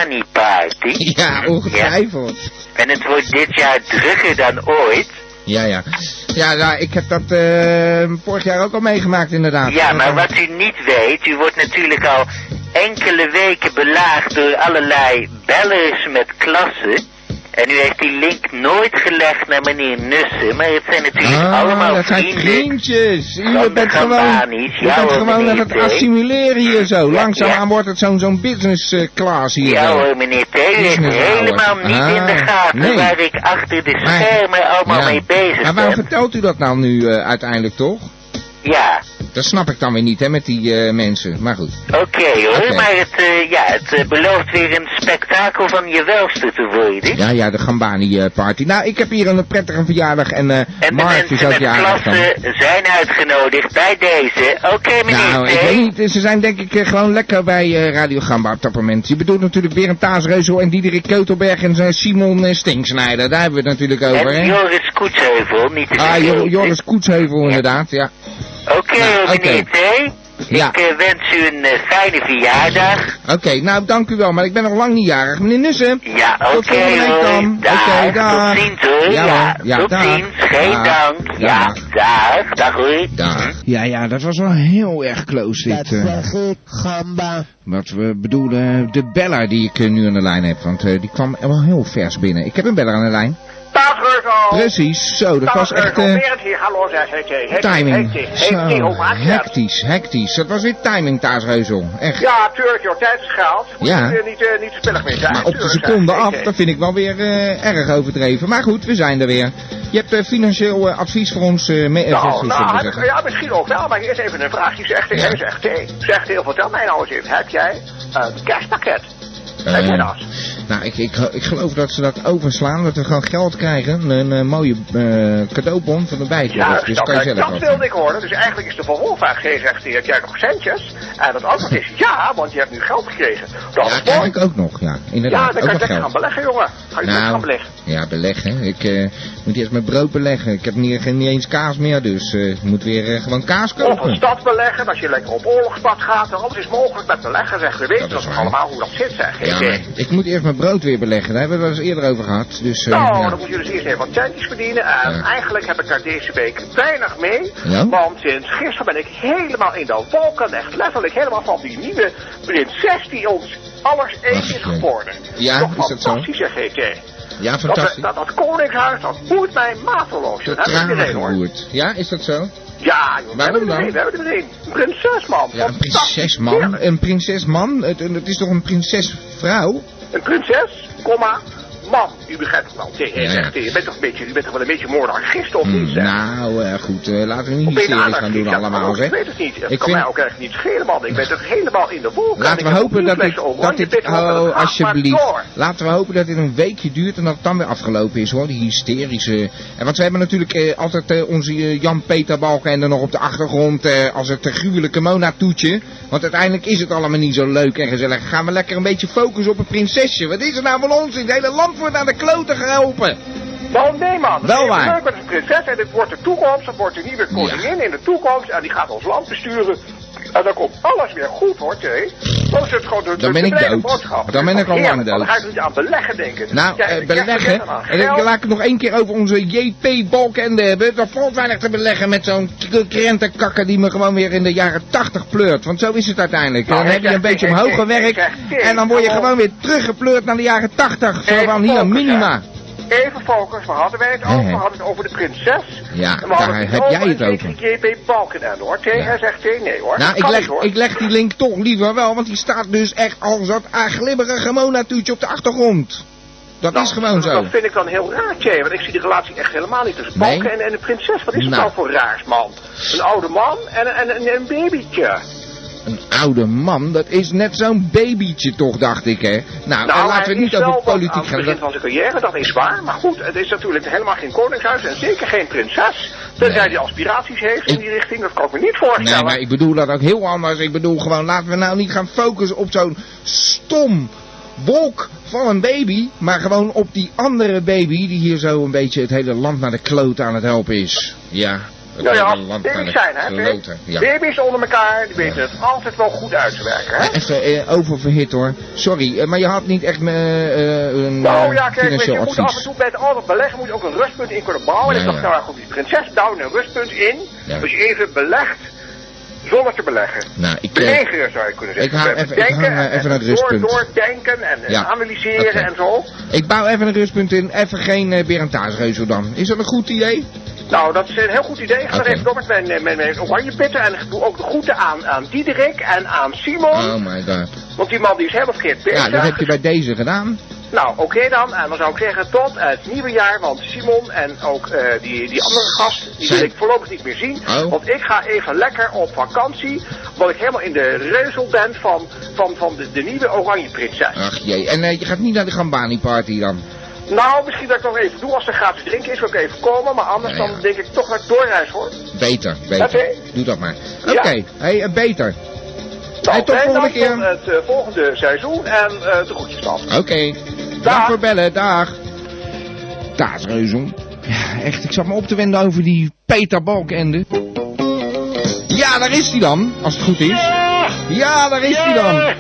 Speaker 6: Gambani-party.
Speaker 2: ja, ongetwijfeld.
Speaker 6: En het wordt dit jaar drukker dan ooit.
Speaker 2: Ja, ja. Ja, nou, ik heb dat eh, vorig jaar ook al meegemaakt, inderdaad.
Speaker 6: Ja, maar wat u niet weet, u wordt natuurlijk al enkele weken belaagd door allerlei bellers met klassen. En u heeft die link nooit gelegd naar meneer Nussen, maar het zijn natuurlijk
Speaker 2: Ah,
Speaker 6: allemaal
Speaker 2: dat zijn
Speaker 6: vrienden.
Speaker 2: vriendjes.
Speaker 6: van
Speaker 2: U
Speaker 6: de
Speaker 2: bent gewoon,
Speaker 6: Gambanis.
Speaker 2: u
Speaker 6: Ja,
Speaker 2: bent
Speaker 6: hoor,
Speaker 2: gewoon aan
Speaker 6: meneer
Speaker 2: het
Speaker 6: T.
Speaker 2: assimileren hier zo.
Speaker 6: Ja,
Speaker 2: Langzaamaan
Speaker 6: ja.
Speaker 2: wordt het zo'n zo'n business eh, class hier.
Speaker 6: Ja
Speaker 2: zo.
Speaker 6: hoor, meneer T, u heeft
Speaker 2: Business
Speaker 6: helemaal
Speaker 2: hours.
Speaker 6: niet in de
Speaker 2: nou Ah,
Speaker 6: gaten
Speaker 2: nee.
Speaker 6: waar ik achter de
Speaker 2: Maar-
Speaker 6: schermen allemaal
Speaker 2: Ja.
Speaker 6: mee bezig
Speaker 2: Maar waarom
Speaker 6: ben.
Speaker 2: vertelt u dat nou nu eh, uiteindelijk toch?
Speaker 6: Ja,
Speaker 2: Dat snap ik dan weer niet, hè, met die eh, mensen. Maar goed.
Speaker 6: oké hoor,
Speaker 2: Oké.
Speaker 6: maar het, eh, ja, het eh, belooft weer een spektakel van je welste te worden.
Speaker 2: Ja, ja, de Gambani-party. nou, ik heb hier een prettige verjaardag en eh
Speaker 6: En de
Speaker 2: Mark is
Speaker 6: mensen
Speaker 2: ook
Speaker 6: met
Speaker 2: jarig dan.
Speaker 6: klassen zijn uitgenodigd bij deze. Oké, meneer
Speaker 2: Nou,
Speaker 6: T.
Speaker 2: ik weet niet. Ze zijn denk ik eh, gewoon lekker bij eh, Radio Gamba op dat moment. Je bedoelt natuurlijk Berend Taasreuzel en Diederik Keutelberg en eh, Simon eh, Stinksnijder. Daar hebben we het natuurlijk over,
Speaker 6: En
Speaker 2: hè?
Speaker 6: Joris Koetsheuvel, niet te
Speaker 2: Ah,
Speaker 6: vergeten.
Speaker 2: Jor- Joris Koetsheuvel inderdaad, ja.
Speaker 6: Oké,
Speaker 2: Nou, oké.
Speaker 6: meneer T.
Speaker 2: Ja.
Speaker 6: Ik eh, wens u een eh, fijne verjaardag.
Speaker 2: Oké, nou dank u wel, maar ik ben nog lang niet jarig. Meneer Nussen.
Speaker 6: Ja,
Speaker 2: Tot
Speaker 6: oké
Speaker 2: volgende week
Speaker 6: hoor.
Speaker 2: dan.
Speaker 6: Dag.
Speaker 2: Oké, dag.
Speaker 6: Tot ziens hoor.
Speaker 2: Ja, hoor. Ja,
Speaker 6: tot
Speaker 2: dag.
Speaker 6: ziens. Geen
Speaker 2: Dag.
Speaker 6: dank. Ja,
Speaker 2: Dag.
Speaker 6: dag. Dag hoor.
Speaker 2: Daar. Ja, ja, dat was wel heel erg close
Speaker 5: Dat
Speaker 2: dit. eh,
Speaker 5: zeg ik, gamba.
Speaker 2: wat we bedoelen, de beller die ik eh, nu aan de lijn heb. Want eh, die kwam wel heel vers binnen. Ik heb een beller aan de lijn.
Speaker 4: Dag Rugel.
Speaker 2: Precies, zo, dat was echt... eh,
Speaker 4: Weer het hier, hallo zeg ik. Hey, hey,
Speaker 2: Timing.
Speaker 4: hey, hey, hey,
Speaker 2: Zo,
Speaker 4: hoe maak je dat?
Speaker 2: hectisch, hectisch. Dat was weer timing, Taasreuzel. Echt.
Speaker 4: Ja, tuurlijk joh, tijd is gehaald. Moet
Speaker 2: Ja.
Speaker 4: je eh, niet, eh, niet te spillig mee zijn.
Speaker 2: Maar op de
Speaker 4: Tuurlijk,
Speaker 2: seconde
Speaker 4: zeg.
Speaker 2: af,
Speaker 4: Hey, hey.
Speaker 2: dat vind ik wel weer eh, erg overdreven. Maar goed, we zijn er weer. Je hebt eh, financieel eh, advies voor ons eh mee. eh, voor-
Speaker 4: Nou,
Speaker 2: voor-
Speaker 4: nou,
Speaker 2: zullen we
Speaker 4: heb ik-
Speaker 2: zeggen.
Speaker 4: ja, misschien ook wel, maar eerst even een vraagje. Zegt hij, hey, zegt hij, zegt heel, vertel mij nou eens even, heb jij een kerstpakket? Heb
Speaker 2: Eh,
Speaker 4: jij dat?
Speaker 2: Nou, ik, ik, ik geloof dat ze dat overslaan, dat we gewoon geld krijgen. Een, eh, mooie eh, cadeaubon van de bijtje.
Speaker 4: Ja,
Speaker 2: dus, dus
Speaker 4: dat,
Speaker 2: kan je zelf
Speaker 4: Nou, dat
Speaker 2: wat
Speaker 4: wilde
Speaker 2: doen.
Speaker 4: ik horen. Dus eigenlijk is de vervolgvraag gezegd, heb jij nog centjes? En het antwoord is ja, want je hebt nu geld gekregen. Dat
Speaker 2: Ja,
Speaker 4: is
Speaker 2: kan
Speaker 4: mooi.
Speaker 2: ik ook nog, ja.
Speaker 4: Ja,
Speaker 2: Inderdaad, ook
Speaker 4: dan kan je
Speaker 2: nog
Speaker 4: lekker gaan
Speaker 2: geld. Nou,
Speaker 4: beleggen, jongen. Ga je lekker gaan beleggen.
Speaker 2: ja, beleggen. Ik eh, moet eerst mijn brood beleggen. Ik heb niet, geen- niet eens kaas meer, dus eh, ik moet weer eh, gewoon kaas
Speaker 4: Of een
Speaker 2: kopen.
Speaker 4: stad beleggen, als je lekker op oorlogspad gaat. En alles is mogelijk met beleggen, zeg. We weten
Speaker 2: Dat
Speaker 4: dat
Speaker 2: is
Speaker 4: toch
Speaker 2: waar.
Speaker 4: allemaal hoe dat zit, zeg. Ik,
Speaker 2: Ja,
Speaker 4: eh,
Speaker 2: maar ik moet eerst mijn brood weer beleggen. Daar hebben we het wel eens eerder over gehad. Dus, eh,
Speaker 4: Nou,
Speaker 2: ja.
Speaker 4: dan moet je dus eerst even wat centjes verdienen. En
Speaker 2: Ja.
Speaker 4: eigenlijk heb ik daar deze week weinig mee.
Speaker 2: Ja?
Speaker 4: Want sinds gisteren ben ik helemaal in de wolken. Echt letterlijk helemaal van die nieuwe prinses die ons alles
Speaker 2: Ach,
Speaker 4: eens is
Speaker 2: jee.
Speaker 4: geworden.
Speaker 2: Ja,
Speaker 4: Toch
Speaker 2: is dat zo?
Speaker 4: fantastisch, zeg ik.
Speaker 2: ja,
Speaker 4: Dat, we-
Speaker 2: fantastisch.
Speaker 4: dat, dat koningshuis, dat boeit mij mateloos.
Speaker 2: De
Speaker 4: Dat hebben we
Speaker 2: tranen
Speaker 4: iedereen hoor.
Speaker 2: geroerd. Ja, is dat zo?
Speaker 4: Ja, joh, we
Speaker 2: Waarom
Speaker 4: hebben er
Speaker 2: dan?
Speaker 4: een, we hebben er een. Een prinses, man.
Speaker 2: Ja, een
Speaker 4: Fantastisch.
Speaker 2: prinses, man.
Speaker 4: Heerlijk.
Speaker 2: Een prinses, man. Het, het is toch een prinsesvrouw?
Speaker 4: Een prinses, comma, man. U begrijpt het wel. Tegen,
Speaker 2: Ja, ja.
Speaker 4: zegt hij. Je bent toch een beetje, je bent toch wel een beetje moordagist of niet,
Speaker 2: Hmm,
Speaker 4: zeg.
Speaker 2: nou, eh, goed. eh, laten we niet
Speaker 4: Of ben je
Speaker 2: hysterisch gaan
Speaker 4: anarchist?
Speaker 2: doen
Speaker 4: Ja,
Speaker 2: allemaal,
Speaker 4: nou,
Speaker 2: zeg.
Speaker 4: Ik weet het niet. Het
Speaker 2: Ik
Speaker 4: kan
Speaker 2: vind-
Speaker 4: mij ook echt niet schelen, man. Ik ben toch helemaal in de wolken.
Speaker 2: Laten
Speaker 4: Ik
Speaker 2: we
Speaker 4: heb
Speaker 2: hopen dat dit,
Speaker 4: nieuwslessen over,
Speaker 2: dat
Speaker 4: want je
Speaker 2: dit,
Speaker 4: bent wel met
Speaker 2: oh,
Speaker 4: het hart
Speaker 2: alsjeblieft.
Speaker 4: maar
Speaker 2: Laten we hopen dat dit een weekje duurt en dat het dan weer afgelopen is hoor, die hysterische. En want we hebben natuurlijk eh, altijd eh, onze eh, Jan-Peter Balkenende nog op de achtergrond eh, als het eh, gruwelijke Mona-toetje. Want uiteindelijk is het allemaal niet zo leuk en gezellig. Gaan we lekker een beetje focussen op een prinsesje. Wat is er nou van ons? Het hele land wordt aan de kloten geholpen.
Speaker 4: door. Nou, nee, man.
Speaker 2: Wel
Speaker 4: Het is
Speaker 2: waar.
Speaker 4: leuk met een prinses en dit wordt de toekomst. Dat wordt de nieuwe koningin in de toekomst. En die gaat ons land besturen. En dan komt alles weer goed, hoor, Jay. Dan is het gewoon de, de,
Speaker 2: Dan ben
Speaker 4: de
Speaker 2: ik
Speaker 4: brede
Speaker 2: dood.
Speaker 4: boodschap.
Speaker 2: Dan ben ik al lang
Speaker 4: Heerlijk, man.
Speaker 2: dood.
Speaker 4: Dan ga je niet aan beleggen denken.
Speaker 2: Nou,
Speaker 4: Ja,
Speaker 2: eh,
Speaker 4: ik- ik
Speaker 2: beleggen.
Speaker 4: heb er aan
Speaker 2: En ik,
Speaker 4: geld.
Speaker 2: laat ik het nog één keer over onze JP Balkenende hebben. Dat valt weinig te beleggen met zo'n k- krentenkakker die me gewoon weer in de jaren 80 pleurt. Want zo is het uiteindelijk.
Speaker 4: Nou,
Speaker 2: Dan
Speaker 4: ik
Speaker 2: heb je
Speaker 4: zeg,
Speaker 2: een beetje
Speaker 4: ik-
Speaker 2: omhoog
Speaker 4: ik-
Speaker 2: gewerkt.
Speaker 4: ik zeg,
Speaker 2: En dan word je
Speaker 4: kom op.
Speaker 2: gewoon weer teruggepleurd naar de jaren 80. Zo
Speaker 4: Even
Speaker 2: van hier,
Speaker 4: focussen.
Speaker 2: minima.
Speaker 4: Even focus, waar hadden wij het
Speaker 2: Hè,
Speaker 4: over?
Speaker 2: hè.
Speaker 4: We hadden het over de prinses.
Speaker 2: Ja,
Speaker 4: En we
Speaker 2: daar
Speaker 4: hadden het
Speaker 2: heb
Speaker 4: over
Speaker 2: jij het
Speaker 4: de
Speaker 2: over.
Speaker 4: JP Balkenende hoor. Tegen
Speaker 2: Ja.
Speaker 4: hij zegt nee, nee hoor.
Speaker 2: Nou,
Speaker 4: Dat
Speaker 2: ik
Speaker 4: kan
Speaker 2: leg,
Speaker 4: niet, hoor.
Speaker 2: ik leg die link toch liever wel, want die staat dus echt als dat ah, glibberige monatuurtje op de achtergrond. Dat
Speaker 4: Nou,
Speaker 2: is gewoon zo.
Speaker 4: Dat vind ik dan heel raar, Jay, want ik zie de relatie echt helemaal niet tussen
Speaker 2: Nee.
Speaker 4: Balken en, en de prinses. Wat is dat
Speaker 2: Nou.
Speaker 4: nou voor raars, man? Een oude man en, en, en een babytje.
Speaker 2: Een oude man, dat is net zo'n babytje toch, dacht ik, hè? Nou, en
Speaker 4: Nou,
Speaker 2: laten we
Speaker 4: hij
Speaker 2: het niet
Speaker 4: is wel
Speaker 2: over
Speaker 4: wat aan
Speaker 2: politiek
Speaker 4: het
Speaker 2: gaan.
Speaker 4: begin
Speaker 2: Dat-
Speaker 4: van zijn carrière, dat is waar. Maar goed, het is natuurlijk helemaal geen koningshuis en zeker geen prinses. Tenzij
Speaker 2: Nee.
Speaker 4: hij aspiraties heeft in
Speaker 2: Ik-
Speaker 4: die richting, dat kan ik me niet voorstellen.
Speaker 2: Nee, maar ik bedoel dat ook heel anders. Ik bedoel gewoon, laten we nou niet gaan focussen op zo'n stom wolk van een baby. Maar gewoon op die andere baby die hier zo een beetje het hele land naar de kloot aan het helpen is. Ja, het
Speaker 4: Nou
Speaker 2: hele
Speaker 4: ja,
Speaker 2: land naar de
Speaker 4: baby's zijn, hè?
Speaker 2: kloten.
Speaker 4: Pim?
Speaker 2: Ja.
Speaker 4: Baby's onder elkaar, die weten het altijd wel goed uit te werken, hè?
Speaker 2: Ja, Even eh, oververhit hoor. Sorry, eh, maar je had niet echt me, eh, een
Speaker 4: Nou
Speaker 2: eh,
Speaker 4: ja, kijk, weet je,
Speaker 2: financieel
Speaker 4: je moet af en
Speaker 2: advies.
Speaker 4: toe bij het al dat beleggen moet je ook een rustpunt in kunnen bouwen. En ik
Speaker 2: Ja,
Speaker 4: dacht,
Speaker 2: ja.
Speaker 4: nou ja, goed, die prinses down een rustpunt in.
Speaker 2: Ja.
Speaker 4: Dus even belegt zonder te beleggen.
Speaker 2: Nou, ik, eh,
Speaker 4: Bewegen zou je kunnen zeggen.
Speaker 2: ik hou
Speaker 4: Even
Speaker 2: even- ik
Speaker 4: denken
Speaker 2: hang, eh,
Speaker 4: en-
Speaker 2: even
Speaker 4: en
Speaker 2: een rustpunt.
Speaker 4: Door, doordenken en, en
Speaker 2: Ja.
Speaker 4: analyseren
Speaker 2: Oké.
Speaker 4: en zo.
Speaker 2: ik bouw even een rustpunt in. Even geen eh Berentaasreuzel dan. Is dat een goed idee?
Speaker 4: Nou, dat is een heel goed idee. Ik ga
Speaker 2: Oké.
Speaker 4: er even door met mijn, eh, mijn, mijn oranje pitten. En ik doe ook de groeten aan, aan Diederik en aan Simon.
Speaker 2: Oh my god.
Speaker 4: Want die man die is helemaal verkeerd bezig.
Speaker 2: Ja, dat heb je bij deze gedaan.
Speaker 4: Nou, oké dan. En dan zou ik zeggen tot het nieuwe jaar. Want Simon en ook eh, die, die andere gast, die
Speaker 2: Zijn-
Speaker 4: wil ik voorlopig niet meer zien.
Speaker 2: Oh.
Speaker 4: Want ik ga even lekker op vakantie. Omdat ik helemaal in de reuzel ben van, van, van de, de nieuwe Oranje Prinses.
Speaker 2: Ach jee, en eh, je gaat niet naar de Gambani party dan?
Speaker 4: Nou, misschien dat ik nog even doe. Als er gratis drinken is, wil ik even komen. Maar anders
Speaker 2: Ja, ja.
Speaker 4: dan denk ik toch naar het doorreis hoor. Nou,
Speaker 2: Beter, beter.
Speaker 4: Oké.
Speaker 2: Doe dat maar. Oké,
Speaker 4: Ja.
Speaker 2: hey, eh, beter.
Speaker 4: Nou,
Speaker 2: Hey, tot
Speaker 4: wij
Speaker 2: volgende
Speaker 4: dan
Speaker 2: keer.
Speaker 4: Tot het eh, volgende seizoen. En eh, de groetjes dan.
Speaker 2: Oké. Dag voor bellen, dag. Taasreuzel. Ja, echt, ik zat me op te wenden over die Peter Balkende. Ja, daar is hij dan, als het goed is. Ja, daar is hij dan.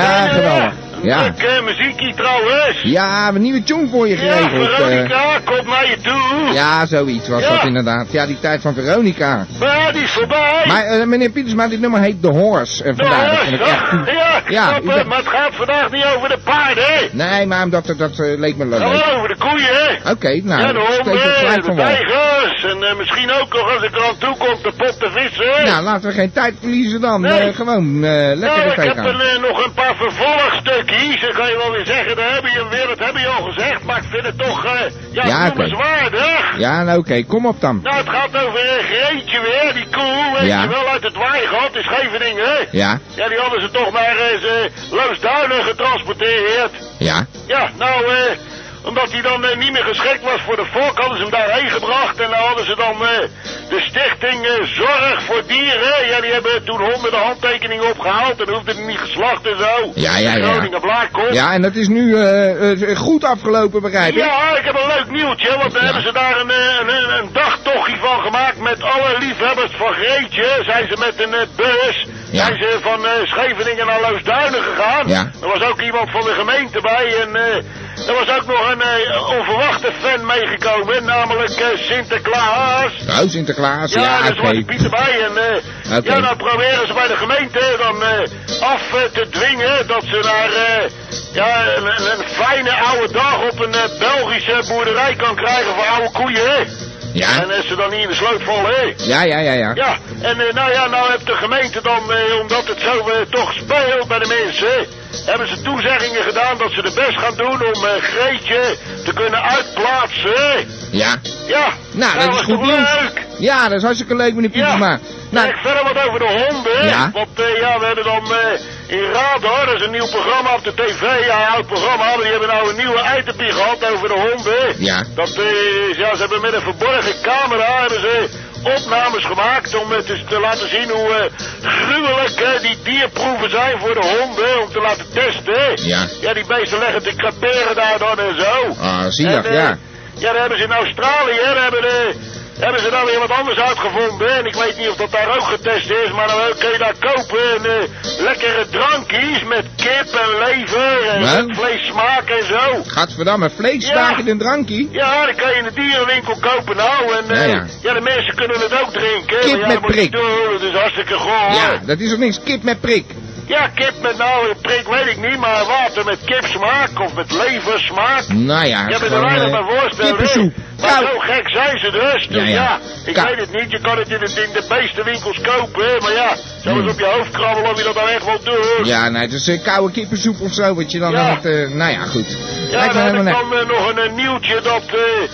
Speaker 2: Ja, geweldig. Ja,
Speaker 3: Lekker muziekie trouwens.
Speaker 2: ja we hebben een nieuwe tune voor je
Speaker 3: Ja,
Speaker 2: geregeld. eh.
Speaker 3: Veronica, kom naar je toe.
Speaker 2: ja, zoiets was
Speaker 3: Ah. Ja.
Speaker 2: dat inderdaad. Ja, die tijd van Veronica.
Speaker 3: Maar die is voorbij.
Speaker 2: Maar eh, meneer Pietersma, dit nummer heet The Horse. En vandaar, dat
Speaker 3: ja,
Speaker 2: vind ik echt goed.
Speaker 3: ja, ik
Speaker 2: Ja,
Speaker 3: snap
Speaker 2: u
Speaker 3: het,
Speaker 2: bent-
Speaker 3: maar het gaat vandaag niet over de paarden, hè?
Speaker 2: Nee, maar omdat dat, dat eh, leek me leuk.
Speaker 3: Het
Speaker 2: Oké,
Speaker 3: gaat over de koeien, hè?
Speaker 2: nou,
Speaker 3: en de
Speaker 2: steek het
Speaker 3: honden,
Speaker 2: gelijk
Speaker 3: en de
Speaker 2: van wal.
Speaker 3: tijgers, en eh, misschien ook nog als ik er aan toe kom, de pot te vissen, hè?
Speaker 2: Nou, laten we geen tijd verliezen dan.
Speaker 3: Nee.
Speaker 2: Eh, gewoon eh lekker
Speaker 3: Nou,
Speaker 2: er
Speaker 3: ik heb
Speaker 2: tegenaan.
Speaker 3: een, eh, nog een paar vervolgstukjes. Dan kan je wel weer zeggen, daar heb je hem weer, dat heb je al gezegd. Maar ik vind het toch, eh ja,
Speaker 2: Ja, oké.
Speaker 3: noemenswaardig.
Speaker 2: Ja, nou oké, kom op dan.
Speaker 3: Nou, het gaat over een Greetje weer, die koe, weet
Speaker 2: Ja.
Speaker 3: je wel, uit het Weigat in Scheveningen, hè?
Speaker 2: Ja,
Speaker 3: Ja, die hadden ze toch maar eens eh, Loosduinen getransporteerd.
Speaker 2: Ja?
Speaker 3: Ja, nou, eh, omdat hij dan eh, niet meer geschikt was voor de volk, hadden ze hem daarheen gebracht. En nou hadden ze dan eh, de stichting eh, Zorg voor Dieren. Ja, die hebben toen honderden handtekeningen opgehaald. En dan hoefde hij niet geslacht en zo.
Speaker 2: Ja, ja, ja.
Speaker 3: Groningen Blaakkop.
Speaker 2: Ja, en dat is nu eh, eh, goed afgelopen, begrijp ik?
Speaker 3: Ja, ik heb een leuk nieuwtje, want daar hebben ze daar een, eh, een, een, een dagtochtje van gemaakt met alle liefhebbers van Greetje. Zijn ze met een eh, bus,
Speaker 2: Ja.
Speaker 3: zijn ze van eh, Scheveningen naar Loosduinen gegaan.
Speaker 2: Ja.
Speaker 3: Er was ook iemand van de gemeente bij en eh, er was ook nog een eh, onverwachte fan meegekomen, namelijk eh, Sinterklaas.
Speaker 2: Nou, Sinterklaas, ja,
Speaker 3: Ja, er
Speaker 2: oké.
Speaker 3: is Zwarte Piet erbij. En eh,
Speaker 2: Oké.
Speaker 3: ja, nou proberen ze bij de gemeente dan eh, af eh, te dwingen dat ze naar eh, ja, een, een- een fijne oude dag op een eh, Belgische boerderij kan krijgen voor oude koeien. hè.
Speaker 2: Ja?
Speaker 3: En eh, ze dan niet in de sloot vallen. hè.
Speaker 2: Ja, ja, ja, ja.
Speaker 3: Ja, en eh, nou ja, nou heeft de gemeente dan, eh, omdat het zo eh, toch speelt bij de mensen, hebben ze toezeggingen gedaan dat ze de best gaan doen om eh, Greetje te kunnen uitplaatsen. hè.
Speaker 2: Ja.
Speaker 3: Ja,
Speaker 2: Nou, dat is
Speaker 3: was
Speaker 2: goed
Speaker 3: toch
Speaker 2: nieuws.
Speaker 3: leuk.
Speaker 2: Ja, dat is hartstikke leuk, meneer
Speaker 3: Ja.
Speaker 2: Pietersma.
Speaker 3: Nou,
Speaker 2: Nou,
Speaker 3: ik verder wat over de honden.
Speaker 2: Ja.
Speaker 3: Want eh, ja, we hebben dan eh, in Radar, dat is een nieuw programma op de tv, ja, een oud programma, maar die hebben nou een nieuwe itemie gehad over de honden.
Speaker 2: Ja.
Speaker 3: Dat, eh, ja, ze hebben met een verborgen camera hebben ze opnames gemaakt om eh, te, te laten zien hoe eh, gruwelijk eh, die dierproeven zijn voor de honden, om te laten testen.
Speaker 2: Ja.
Speaker 3: Ja, die beesten leggen te kraperen daar dan en zo.
Speaker 2: ah, zielig,
Speaker 3: En, eh,
Speaker 2: ja.
Speaker 3: Ja, daar hebben ze in Australië, daar hebben, de, hebben ze daar weer wat anders uitgevonden. En ik weet niet of dat daar ook getest is, maar dan kun je daar kopen en, eh, lekkere drankjes met kip en lever en
Speaker 2: Nou.
Speaker 3: met vleessmaak en zo.
Speaker 2: Gadverdamme, vlees staak in
Speaker 3: Ja.
Speaker 2: een drankie.
Speaker 3: Ja, dat kan je in de dierenwinkel kopen nou. En eh,
Speaker 2: Ja, ja.
Speaker 3: de mensen kunnen het ook drinken. maar
Speaker 2: Kip
Speaker 3: ja,
Speaker 2: met
Speaker 3: dat moet je
Speaker 2: prik.
Speaker 3: Doen, dat is hartstikke goor.
Speaker 2: Ja, dat is toch niks kip met prik?
Speaker 3: Ja, kip met nou, een prik weet ik niet, maar water met kipsmaak of met leversmaak.
Speaker 2: Nou ja,
Speaker 3: Je
Speaker 2: het is
Speaker 3: bent er
Speaker 2: gewoon
Speaker 3: weinig
Speaker 2: eh,
Speaker 3: bij voorstellen.
Speaker 2: kippensoep.
Speaker 3: hè? Maar
Speaker 2: Nou,
Speaker 3: zo gek zijn ze dus. Dus
Speaker 2: Ja,
Speaker 3: ja,
Speaker 2: ja.
Speaker 3: ik
Speaker 2: Ka-
Speaker 3: weet het niet. Je kan het in de, in de meeste winkels kopen. hè, Maar ja, zo
Speaker 2: Hmm.
Speaker 3: eens op je hoofd krabbelen of je dat nou echt wel doet.
Speaker 2: ja, nee, het is eh, koude kippensoep of zo, wat je dan
Speaker 3: Ja.
Speaker 2: aan het... eh, nou ja, goed.
Speaker 3: Ja,
Speaker 2: Lijkt me
Speaker 3: dan heb ik
Speaker 2: helemaal
Speaker 3: dan eh, nog een, eh, nieuwtje dat... eh,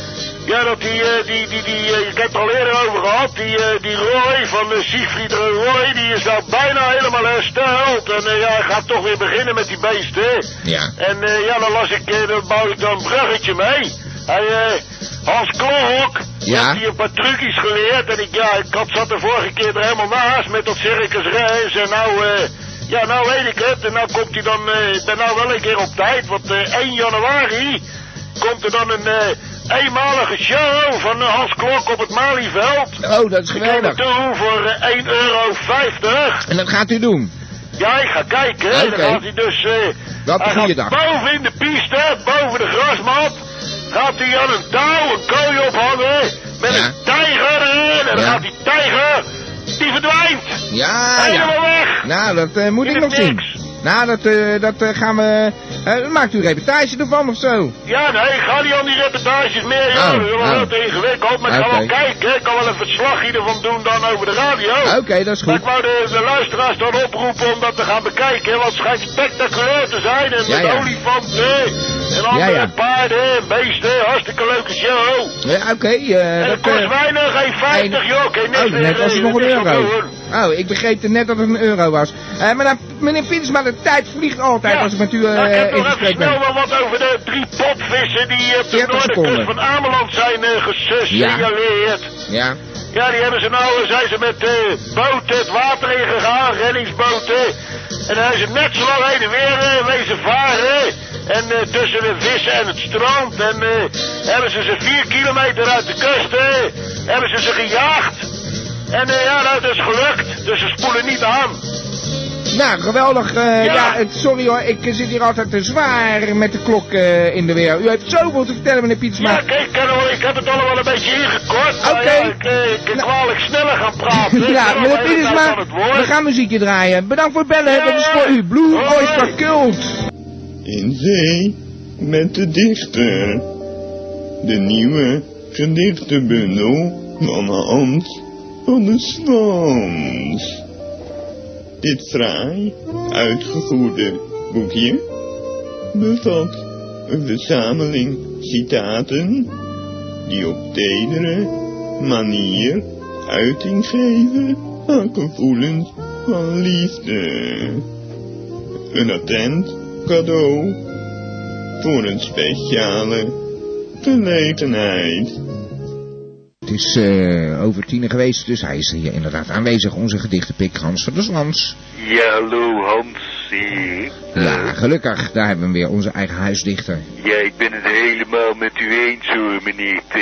Speaker 3: ja, dat die, eh, die, die, die, eh, ik heb het al eerder over gehad, die, eh, die Roy van eh, Siegfried Roy, die is nou bijna helemaal hersteld. En eh, ja, hij gaat toch weer beginnen met die beesten. hè.
Speaker 2: Ja.
Speaker 3: En eh, ja, dan las ik, eh, dan bouw ik dan een bruggetje mee. Hij, eh, Hans Klok,
Speaker 2: Ja.
Speaker 3: heeft hier een paar trucjes geleerd. En ik, ja, ik had, zat de vorige keer er helemaal naast met dat circus reis. En nou, eh, ja, nou weet ik het. En nou komt hij dan, eh, ik ben nou wel een keer op tijd. Want eh, 1 januari komt er dan een eh, eenmalige show van eh, Hans Klok op het Malieveld.
Speaker 2: Oh, dat is
Speaker 3: Ik neem
Speaker 2: geweldig.
Speaker 3: naartoe voor eh, 1,50 euro.
Speaker 2: En dat gaat u doen.
Speaker 3: Ja, ik ga kijken. En
Speaker 2: Oké.
Speaker 3: Dan gaat hij dus... eh,
Speaker 2: Dat
Speaker 3: hij
Speaker 2: een goede
Speaker 3: gaat
Speaker 2: dag.
Speaker 3: boven in de piste, boven de grasmat... gaat hij aan een touw een kooi ophangen... met
Speaker 2: Ja.
Speaker 3: een tijger erin. En dan
Speaker 2: Ja.
Speaker 3: gaat die tijger... die verdwijnt.
Speaker 2: Ja, ja.
Speaker 3: Helemaal weg.
Speaker 2: Nou, dat eh, moet
Speaker 3: Hier
Speaker 2: ik nog
Speaker 3: is
Speaker 2: zien.
Speaker 3: niks.
Speaker 2: Nou, dat, eh, dat eh, gaan we... eh, maakt u een reportage ervan of zo?
Speaker 3: Ja, nee, ga niet aan die reportages meer.
Speaker 2: Oh,
Speaker 3: Ja, dat is wel
Speaker 2: oh.
Speaker 3: heel te ingewikkeld. Maar ik ga
Speaker 2: Oké.
Speaker 3: wel kijken. Ik kan wel een verslag hiervan doen dan over de radio.
Speaker 2: Oké, dat is
Speaker 3: Maar
Speaker 2: goed.
Speaker 3: ik wou de, de luisteraars dan oproepen om dat te gaan bekijken, want het schijnt spectaculair te zijn. En
Speaker 2: Ja,
Speaker 3: met
Speaker 2: ja.
Speaker 3: olifanten en andere
Speaker 2: ja.
Speaker 3: paarden en beesten, hartstikke leuke show.
Speaker 2: Ja, Oké, eh,
Speaker 3: en het
Speaker 2: dat...
Speaker 3: kost
Speaker 2: eh,
Speaker 3: weinig, 1,50
Speaker 2: en-
Speaker 3: joh, oké, niks
Speaker 2: Oh,
Speaker 3: meer.
Speaker 2: net was het
Speaker 3: eh,
Speaker 2: nog een
Speaker 3: niks aan
Speaker 2: euro.
Speaker 3: doen, hoor.
Speaker 2: Oh, ik begreep er net dat het een euro was. Eh, maar nou, meneer Pinsma, de tijd vliegt altijd
Speaker 3: Ja.
Speaker 2: als ik met u eh,
Speaker 3: Nou, ik heb
Speaker 2: in
Speaker 3: nog even
Speaker 2: gesprek
Speaker 3: snel
Speaker 2: ben.
Speaker 3: wel wat over de drie potvissen die eh, op de
Speaker 2: 40
Speaker 3: noorderkust
Speaker 2: seconden.
Speaker 3: van Ameland zijn eh, gesignaleerd.
Speaker 2: Ja,
Speaker 3: Ja, die hebben ze nou, eh, zijn ze met eh, boten het water ingegaan, reddingsboten. En dan zijn ze net zo lang heen en weer eh, wezen varen. En eh, tussen de vissen en het strand. En eh, hebben ze ze vier kilometer uit de kust, eh, hebben ze ze gejaagd. En eh, ja, nou, dat is gelukt. Dus ze spoelen niet aan.
Speaker 2: nou geweldig. eh, ja.
Speaker 3: Ja.
Speaker 2: het- sorry hoor, ik eh, zit hier altijd te zwaar met de klok eh, in de weer. U heeft zoveel te vertellen, meneer Pietsma.
Speaker 3: Ja, kijk, Karel, ik heb het allemaal een beetje ingekort. maar
Speaker 2: Oké.
Speaker 3: ja, ik eh, ik kan
Speaker 2: Nou.
Speaker 3: kwalijk sneller gaan praten.
Speaker 2: Ja,
Speaker 3: Ik ben
Speaker 2: meneer
Speaker 3: al de hele tijd
Speaker 2: Pietsma,
Speaker 3: aan nou het woord.
Speaker 2: we gaan muziekje draaien. Bedankt voor het bellen,
Speaker 3: Ja,
Speaker 2: dat is voor
Speaker 3: ja.
Speaker 2: u. Blue
Speaker 3: Hoi.
Speaker 2: Oyster Cult.
Speaker 7: in zee met de dichter. De nieuwe gedichtenbundel van Hans van de Stans. Dit fraai uitgevoerde boekje bevat een verzameling citaten die op tedere manier uiting geven aan gevoelens
Speaker 8: eh,
Speaker 7: van liefde een attent cadeau
Speaker 8: voor een speciale gelegenheid.
Speaker 2: Het is eh, over tienen geweest, dus hij is hier inderdaad aanwezig. Onze gedichtenpik Hans van der Slans.
Speaker 9: Ja, hallo Hansie.
Speaker 2: Ja, gelukkig. Daar hebben we hem weer, onze eigen huisdichter.
Speaker 9: Ja, ik ben het helemaal met u eens hoor, meneer T.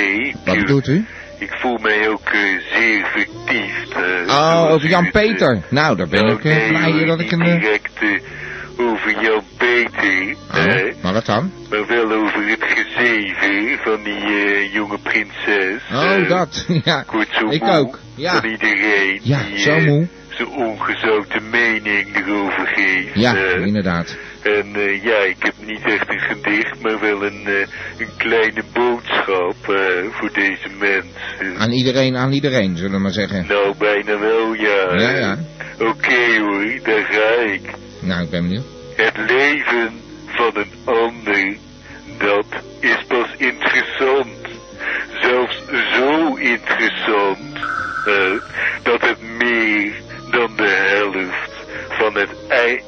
Speaker 2: Wat doet u?
Speaker 9: Ik voel mij ook eh, zeer vertiefd.
Speaker 2: Oh,
Speaker 9: eh, zoals
Speaker 2: over
Speaker 9: u het, eh,
Speaker 2: Jan-Peter. Nou, daar ben
Speaker 9: nou,
Speaker 2: ik eh,
Speaker 9: nee,
Speaker 2: blij
Speaker 9: hoor,
Speaker 2: dat ik een...
Speaker 9: niet
Speaker 2: eh,
Speaker 9: direct eh, over Jan-Peter, hè, Eh,
Speaker 2: Oh, maar wat dan?
Speaker 9: maar wel over het gezeven van die eh, jonge prinses.
Speaker 2: Oh,
Speaker 9: eh,
Speaker 2: dat. Ja,
Speaker 9: Ik word zo
Speaker 2: ik
Speaker 9: moe
Speaker 2: ook. Ja,
Speaker 9: van iedereen
Speaker 2: ja
Speaker 9: die
Speaker 2: zo
Speaker 9: eh,
Speaker 2: moe.
Speaker 9: zijn ongezouten mening erover geeft. eh.
Speaker 2: Ja,
Speaker 9: hè.
Speaker 2: inderdaad.
Speaker 9: En eh, ja, ik heb niet echt een gedicht, maar wel een, eh, een kleine boodschap eh, voor deze mensen.
Speaker 2: Aan iedereen, aan iedereen, zullen we maar zeggen.
Speaker 9: Nou, bijna wel, ja.
Speaker 2: Ja, ja.
Speaker 9: Oké hoor, daar ga ik.
Speaker 2: Nou, ik ben benieuwd.
Speaker 9: Het leven van een ander, dat is pas interessant. Zelfs zo interessant, eh, dat het meer dan de helft van het ei...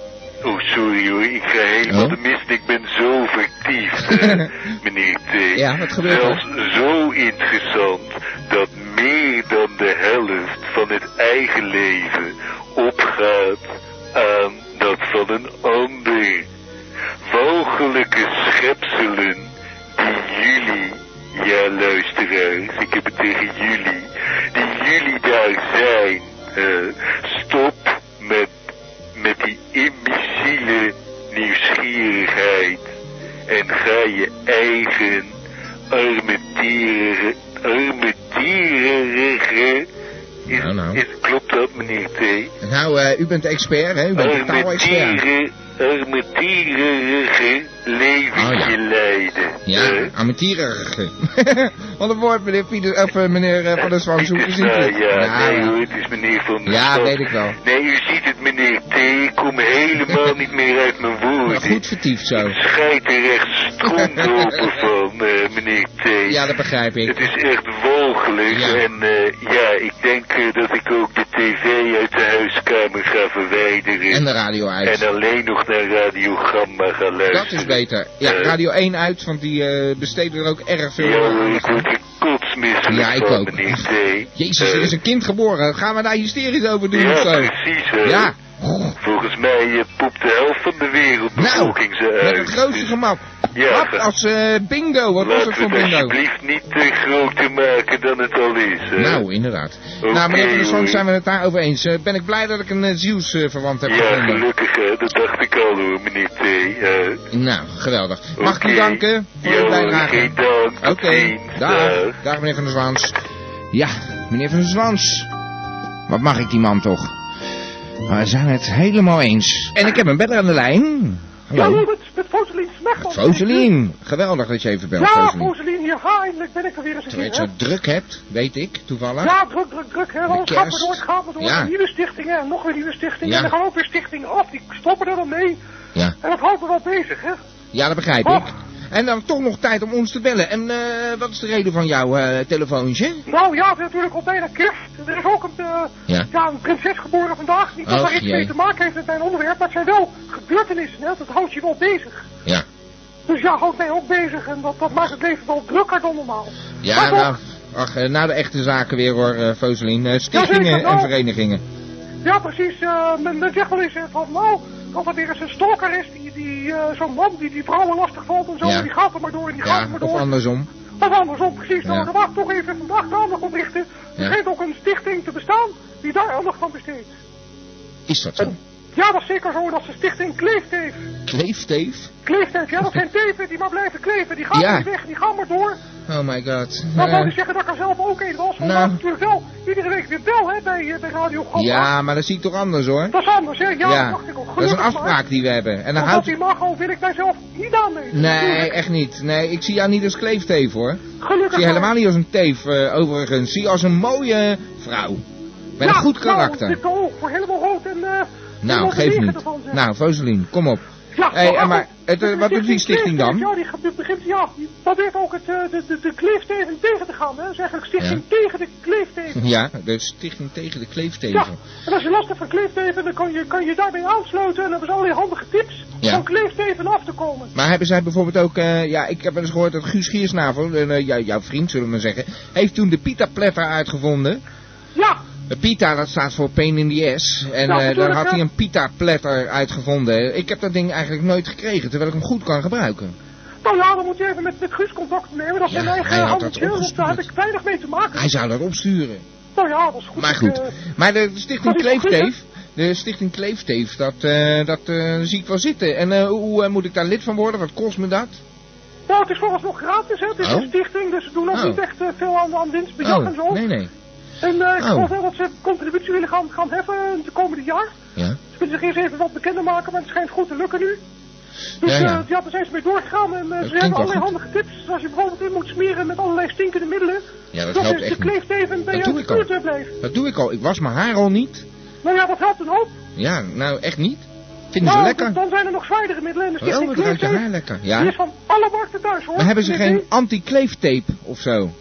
Speaker 9: Oh, sorry hoor, ik ga helemaal
Speaker 2: Oh.
Speaker 9: de mist. Ik ben zo vertiefd, eh, meneer T.
Speaker 2: Ja, wat gebeurt er?
Speaker 9: Zelfs zo interessant dat meer dan de helft van het eigen leven opgaat aan dat van een ander. Walgelijke schepselen die jullie, ja luisteraars, ik heb het tegen jullie, die jullie daar zijn. eh, stop met, met die imbeciele nieuwsgierigheid en ga je eigen arme dieren, arme dierenrige. Is,
Speaker 2: Nou, nou.
Speaker 9: is- klopt dat, meneer T?
Speaker 2: Nou, eh, u bent expert, hè? U bent de
Speaker 9: Arme
Speaker 2: taalexpert.
Speaker 9: Oh, dieren, arme dierenrige leventje
Speaker 2: Oh,
Speaker 9: leiden.
Speaker 2: Ja,
Speaker 9: Eh,
Speaker 2: amatierige. Wat een woord, meneer, Pieter, of, eh, meneer eh, Van der Zwaan. Zoek
Speaker 9: Pieter
Speaker 2: eens in.
Speaker 9: Sna, ja,
Speaker 2: Ja,
Speaker 9: nee
Speaker 2: ja.
Speaker 9: hoor, het is meneer Van der
Speaker 2: Ja,
Speaker 9: Stad.
Speaker 2: weet ik wel.
Speaker 9: Nee, u ziet het meneer T, ik kom helemaal niet meer uit mijn
Speaker 2: Maar
Speaker 9: woorden.
Speaker 2: goed vertiefd zo.
Speaker 9: Schijt er echt stroomdopen van, eh, meneer T.
Speaker 2: Ja, dat begrijp
Speaker 9: Het
Speaker 2: ik.
Speaker 9: is echt walgelijk.
Speaker 2: Ja.
Speaker 9: En eh, ja, ik denk eh, dat ik ook de tv uit de huiskamer ga verwijderen.
Speaker 2: En de radio uit.
Speaker 9: En alleen nog naar Radio Gamma ga luisteren.
Speaker 2: Dat is beter. Ja,
Speaker 9: Eh,
Speaker 2: Radio 1 uit, want die eh, besteden er ook erg veel
Speaker 9: ja, hoor,
Speaker 2: aandacht
Speaker 9: ik
Speaker 2: aan.
Speaker 9: word er kotsmisselijk
Speaker 2: Ja, ik
Speaker 9: van,
Speaker 2: ook.
Speaker 9: Dus, eh,
Speaker 2: Ah,
Speaker 9: meneer T.
Speaker 2: Jezus, er
Speaker 9: Eh,
Speaker 2: is een kind geboren. Gaan we daar hysterisch over doen
Speaker 9: ja,
Speaker 2: of zo?
Speaker 9: precies. hè.
Speaker 2: Ja. Goh,
Speaker 9: Volgens mij eh, poept de helft van de
Speaker 2: Nou,
Speaker 9: wereldbevolking ze uit.
Speaker 2: met het grootste
Speaker 9: Dus
Speaker 2: gemak.
Speaker 9: Ja,
Speaker 2: Wat als eh, bingo? Wat was
Speaker 9: Laten
Speaker 2: het
Speaker 9: we
Speaker 2: voor
Speaker 9: het
Speaker 2: bingo?
Speaker 9: alsjeblieft niet te groter maken dan het al is. hè.
Speaker 2: Nou, inderdaad.
Speaker 9: Oké,
Speaker 2: nou, meneer Van der Sloot,
Speaker 9: hoor.
Speaker 2: zijn we het daarover eens. Eh, ben ik blij dat ik een uh, verwant heb
Speaker 9: Ja,
Speaker 2: gevonden.
Speaker 9: gelukkig, hè, dat dacht ik al hoor, meneer T. Eh,
Speaker 2: Nou, geweldig. Mag ik u
Speaker 9: Oké.
Speaker 2: danken voor uw
Speaker 9: Ja,
Speaker 2: bijdrage?
Speaker 9: geen dank.
Speaker 2: Oké,
Speaker 9: Tot ziens. Dag.
Speaker 2: dag. Dag meneer Van der Zwaans. Ja, meneer Van der Zwaans. Wat mag ik die man toch? We zijn het helemaal eens. En ik heb een beller aan de lijn.
Speaker 10: Ja, nee,
Speaker 2: Hallo.
Speaker 10: met, met Foselien Smechel.
Speaker 2: Foselien. Geweldig dat je even belt,
Speaker 10: Ja,
Speaker 2: Foselien.
Speaker 10: Foselien, hier, ha, eindelijk ben ik er weer eens een
Speaker 2: Terwijl
Speaker 10: keer.
Speaker 2: je
Speaker 10: hè.
Speaker 2: het zo druk hebt, weet ik, toevallig.
Speaker 10: Ja, druk, druk, druk. Hè. Alles gaat maar
Speaker 2: kerst.
Speaker 10: door, het gaat maar door.
Speaker 2: Ja.
Speaker 10: Nieuwe stichtingen en nog weer nieuwe stichtingen.
Speaker 2: Ja.
Speaker 10: En er gaan ook weer stichtingen af. Die stoppen er dan mee.
Speaker 2: Ja.
Speaker 10: En dat houdt me wel bezig, hè.
Speaker 2: Ja, dat begrijp
Speaker 10: Oh.
Speaker 2: ik. En dan toch nog tijd om ons te bellen. En eh, wat is de reden van jouw eh, telefoontje?
Speaker 10: Nou ja, het is natuurlijk al bijna kerst. Er is ook een, eh,
Speaker 2: Ja.
Speaker 10: ja, een prinses geboren vandaag. Niet dat
Speaker 2: Och,
Speaker 10: daar iets mee
Speaker 2: jee.
Speaker 10: te maken heeft met mijn onderwerp. Maar het zijn wel gebeurtenissen, hè. Dat houdt je wel bezig.
Speaker 2: Ja.
Speaker 10: Dus ja, houdt mij ook bezig. En dat, dat maakt het leven wel drukker dan normaal.
Speaker 2: Ja,
Speaker 10: Maar toch,
Speaker 2: nou. Ach, eh, nou de echte zaken weer hoor, eh Foselien. Eh, stichtingen
Speaker 10: Jazeker, nou.
Speaker 2: en verenigingen.
Speaker 10: Ja, precies. eh, men, men zegt wel eens eh, van, nou, of het weer eens een stalker is, die, die, eh, zo'n man die die vrouwen lastig valt en zo,
Speaker 2: Ja.
Speaker 10: en die gaat er maar door en die gaat
Speaker 2: Ja,
Speaker 10: er maar
Speaker 2: of
Speaker 10: door.
Speaker 2: andersom.
Speaker 10: Of andersom, precies.
Speaker 2: Ja.
Speaker 10: Nou, daar mag ik toch even vandaag de aandacht op richten. Er
Speaker 2: Ja.
Speaker 10: schijnt ook een stichting te bestaan die daar aandacht aan besteedt.
Speaker 2: Is dat zo?
Speaker 10: Ja, dat is zeker zo. Dat is de stichting Kleefteef.
Speaker 2: Kleefteef?
Speaker 10: Kleefteef, ja, dat zijn teven die maar blijven kleven. Die gaan
Speaker 2: Ja.
Speaker 10: niet weg, die gaan maar door.
Speaker 2: Oh my god.
Speaker 10: Dat
Speaker 2: Eh,
Speaker 10: wou ik zeggen dat ik er zelf ook een was. Maar
Speaker 2: Nou.
Speaker 10: nou. natuurlijk wel iedere week weer bel, hè, bij, eh, bij Radio Gamma.
Speaker 2: ja, maar dat zie ik toch anders hoor.
Speaker 10: Dat is anders, hè? Ja, dat dacht ik ook.
Speaker 2: dat is een
Speaker 10: Gelukkig maar.
Speaker 2: afspraak die we hebben. En dan
Speaker 10: Want dat
Speaker 2: houdt...
Speaker 10: imago wil ik mijzelf niet aannemen.
Speaker 2: Nee,
Speaker 10: Natuurlijk.
Speaker 2: echt niet. Nee, ik zie jou niet als kleefteef hoor. Ik
Speaker 10: Gelukkig
Speaker 2: zie je helemaal
Speaker 10: maar.
Speaker 2: niet als een teef eh, overigens. Zie je als een mooie vrouw. Met
Speaker 10: Ja,
Speaker 2: een goed karakter.
Speaker 10: Nou, dit oog voor helemaal rood en... eh,
Speaker 2: Nou,
Speaker 10: helemaal
Speaker 2: geef
Speaker 10: bewegen
Speaker 2: niet.
Speaker 10: ervan, zeg.
Speaker 2: Nou, Foselien, kom op.
Speaker 10: Ja,
Speaker 2: Hé,
Speaker 10: nou,
Speaker 2: maar het, eh, wat doet die stichting dan?
Speaker 10: Ja, die ge- begint, ja, die probeert ook het, eh, de, de, de kleeftegen tegen te gaan. Hè. Dat is eigenlijk stichting tegen de kleeftegen.
Speaker 2: Ja, de stichting tegen de kleefteven.
Speaker 10: Ja, en als je last hebt van kleefteven, dan kan je, kan je daarbij aansluiten. En dan hebben ze allerlei handige tips
Speaker 2: Ja.
Speaker 10: om kleefteven af te komen.
Speaker 2: Maar hebben zij bijvoorbeeld ook, eh, ja, ik heb wel eens gehoord dat Guus Giersnavel, eh, nou, jou- jouw vriend zullen we maar zeggen, heeft toen de Pita Platter uitgevonden.
Speaker 10: Ja,
Speaker 2: Eh, Pita, dat staat voor pain in the ass. En
Speaker 10: Ja,
Speaker 2: eh, daar
Speaker 10: natuurlijk,
Speaker 2: had
Speaker 10: ja.
Speaker 2: hij een Pita Platter uitgevonden. Ik heb dat ding eigenlijk nooit gekregen, terwijl ik hem goed kan gebruiken.
Speaker 10: nou ja, dan moet je even met, met Guus contact opnemen. Dat is
Speaker 2: Ja,
Speaker 10: mijn
Speaker 2: hij
Speaker 10: eigen
Speaker 2: had
Speaker 10: handen
Speaker 2: dat
Speaker 10: dus daar heb
Speaker 2: opgestuurd.
Speaker 10: ik weinig mee te maken.
Speaker 2: Hij zou dat opsturen.
Speaker 10: Nou ja, dat is goed.
Speaker 2: Maar
Speaker 10: Ik,
Speaker 2: goed,
Speaker 10: eh,
Speaker 2: maar de stichting
Speaker 10: dat is goed,
Speaker 2: Kleefteef, de stichting Kleefteef, dat, eh, dat eh, zie ik wel zitten. En eh, hoe eh, moet ik daar lid van worden? Wat kost me dat?
Speaker 10: nou, het is vooralsnog gratis, hè. Het is
Speaker 2: Oh.
Speaker 10: een stichting, dus ze doen ook
Speaker 2: Oh.
Speaker 10: niet echt eh, veel aan, aan winstbejag en zo.
Speaker 2: nee, nee.
Speaker 10: En eh, ik
Speaker 2: Oh.
Speaker 10: geloof wel dat ze contributie willen gaan, gaan heffen de komende jaar.
Speaker 2: Ja.
Speaker 10: Ze willen zich eerst even wat bekender maken, maar het schijnt goed te lukken nu. Dus
Speaker 2: Ja,
Speaker 10: ja,
Speaker 2: ja.
Speaker 10: ja. daar zijn ze mee doorgegaan en eh, ze
Speaker 2: klinkt
Speaker 10: hebben
Speaker 2: wel
Speaker 10: allerlei
Speaker 2: goed.
Speaker 10: handige tips. Zoals je bijvoorbeeld in moet smeren met allerlei stinkende middelen.
Speaker 2: Ja, dat
Speaker 10: dat
Speaker 2: helpt
Speaker 10: is de
Speaker 2: echt niet.
Speaker 10: kleefteven bij
Speaker 2: Dat
Speaker 10: jou
Speaker 2: doe
Speaker 10: in
Speaker 2: ik
Speaker 10: de
Speaker 2: al.
Speaker 10: buurt blijft.
Speaker 2: Dat doe ik al. Ik was mijn haar al niet.
Speaker 10: Nou ja, dat helpt een hoop.
Speaker 2: Ja, nou echt niet. Vinden ze
Speaker 10: Nou,
Speaker 2: lekker?
Speaker 10: dan zijn er nog zwaardere middelen en de
Speaker 2: Oh,
Speaker 10: stichting
Speaker 2: het ruikt je haar
Speaker 10: kleefteven.
Speaker 2: lekker.
Speaker 10: Die
Speaker 2: Ja.
Speaker 10: is van alle markten thuis hoor.
Speaker 2: Maar hebben ze
Speaker 10: Met
Speaker 2: geen
Speaker 10: die-
Speaker 2: anti-kleeftape of zo?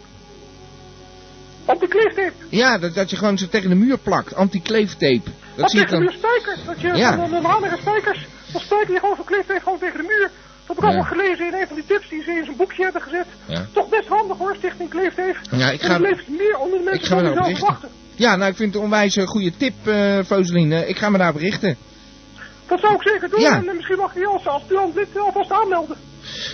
Speaker 10: Op de kleeftape.
Speaker 2: Ja, dat, dat je gewoon ze tegen de muur plakt. Anti-kleeftape. Dat
Speaker 10: Dat
Speaker 2: zie ik
Speaker 10: tegen de muur
Speaker 2: dan.
Speaker 10: spijkers. Dat je
Speaker 2: Ja.
Speaker 10: ja. van de handige spijkers. Dan spijker je gewoon zo'n kleefteef gewoon tegen de muur. Dat heb ik
Speaker 2: Ja.
Speaker 10: allemaal gelezen in een van die tips die ze in zijn boekje hebben gezet.
Speaker 2: Ja.
Speaker 10: Toch best handig hoor, Stichting Kleefteef.
Speaker 2: Ja, ik ga-
Speaker 10: En het leeft meer onder de
Speaker 2: ik
Speaker 10: mensen
Speaker 2: ga me
Speaker 10: dan
Speaker 2: daarop
Speaker 10: die zelf
Speaker 2: richten.
Speaker 10: verwachten.
Speaker 2: Ja, nou ik vind het een onwijs eh, goede tip, eh Foseline. Eh, Ik ga me daarop richten.
Speaker 10: Dat zou ik zeker doen.
Speaker 2: Ja.
Speaker 10: En eh, misschien mag je je als aspirant lid eh, alvast aanmelden.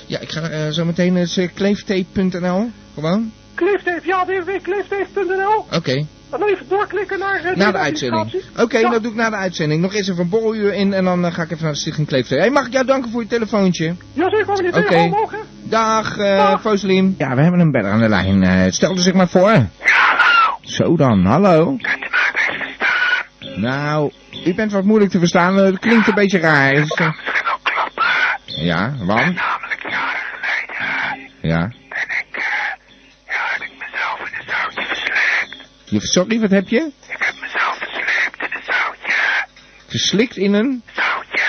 Speaker 2: Ja, ik ga eh, zo meteen eens eh, kleeftape.nl. Gewoon.
Speaker 10: Kleefteef, ja, www.kleefteef.nl.
Speaker 2: Oké.
Speaker 10: En dan even doorklikken naar... eh,
Speaker 2: Na de
Speaker 10: identificatie.
Speaker 2: uitzending. Oké, nou,
Speaker 10: Ja.
Speaker 2: dat doe ik na de uitzending. Nog eens even een borreluur in en dan eh, ga ik even naar de stichting Kleeftape. Hey, mag ik jou danken voor je telefoontje?
Speaker 10: Jazeker, meneer.
Speaker 2: Oké.
Speaker 10: Tegen omhoog, hè.
Speaker 2: Dag, eh
Speaker 10: Dag.
Speaker 2: Foseline. Ja, we hebben een beller aan de lijn. Eh, stel er zich maar voor. Zo dan, hallo. Nou, u bent wat moeilijk te verstaan. eh, Het klinkt een beetje raar. Is, eh,
Speaker 11: Misschien ook kloppen.
Speaker 2: ja, want?
Speaker 11: Namelijk jaren geleden
Speaker 2: Ja.
Speaker 11: ben ik, ja, heb ik mezelf in een zoutje versleept.
Speaker 2: Je- Sorry, wat heb je?
Speaker 11: Ik heb mezelf versleept in een zoutje.
Speaker 2: Geslikt in een,
Speaker 11: Zoutje.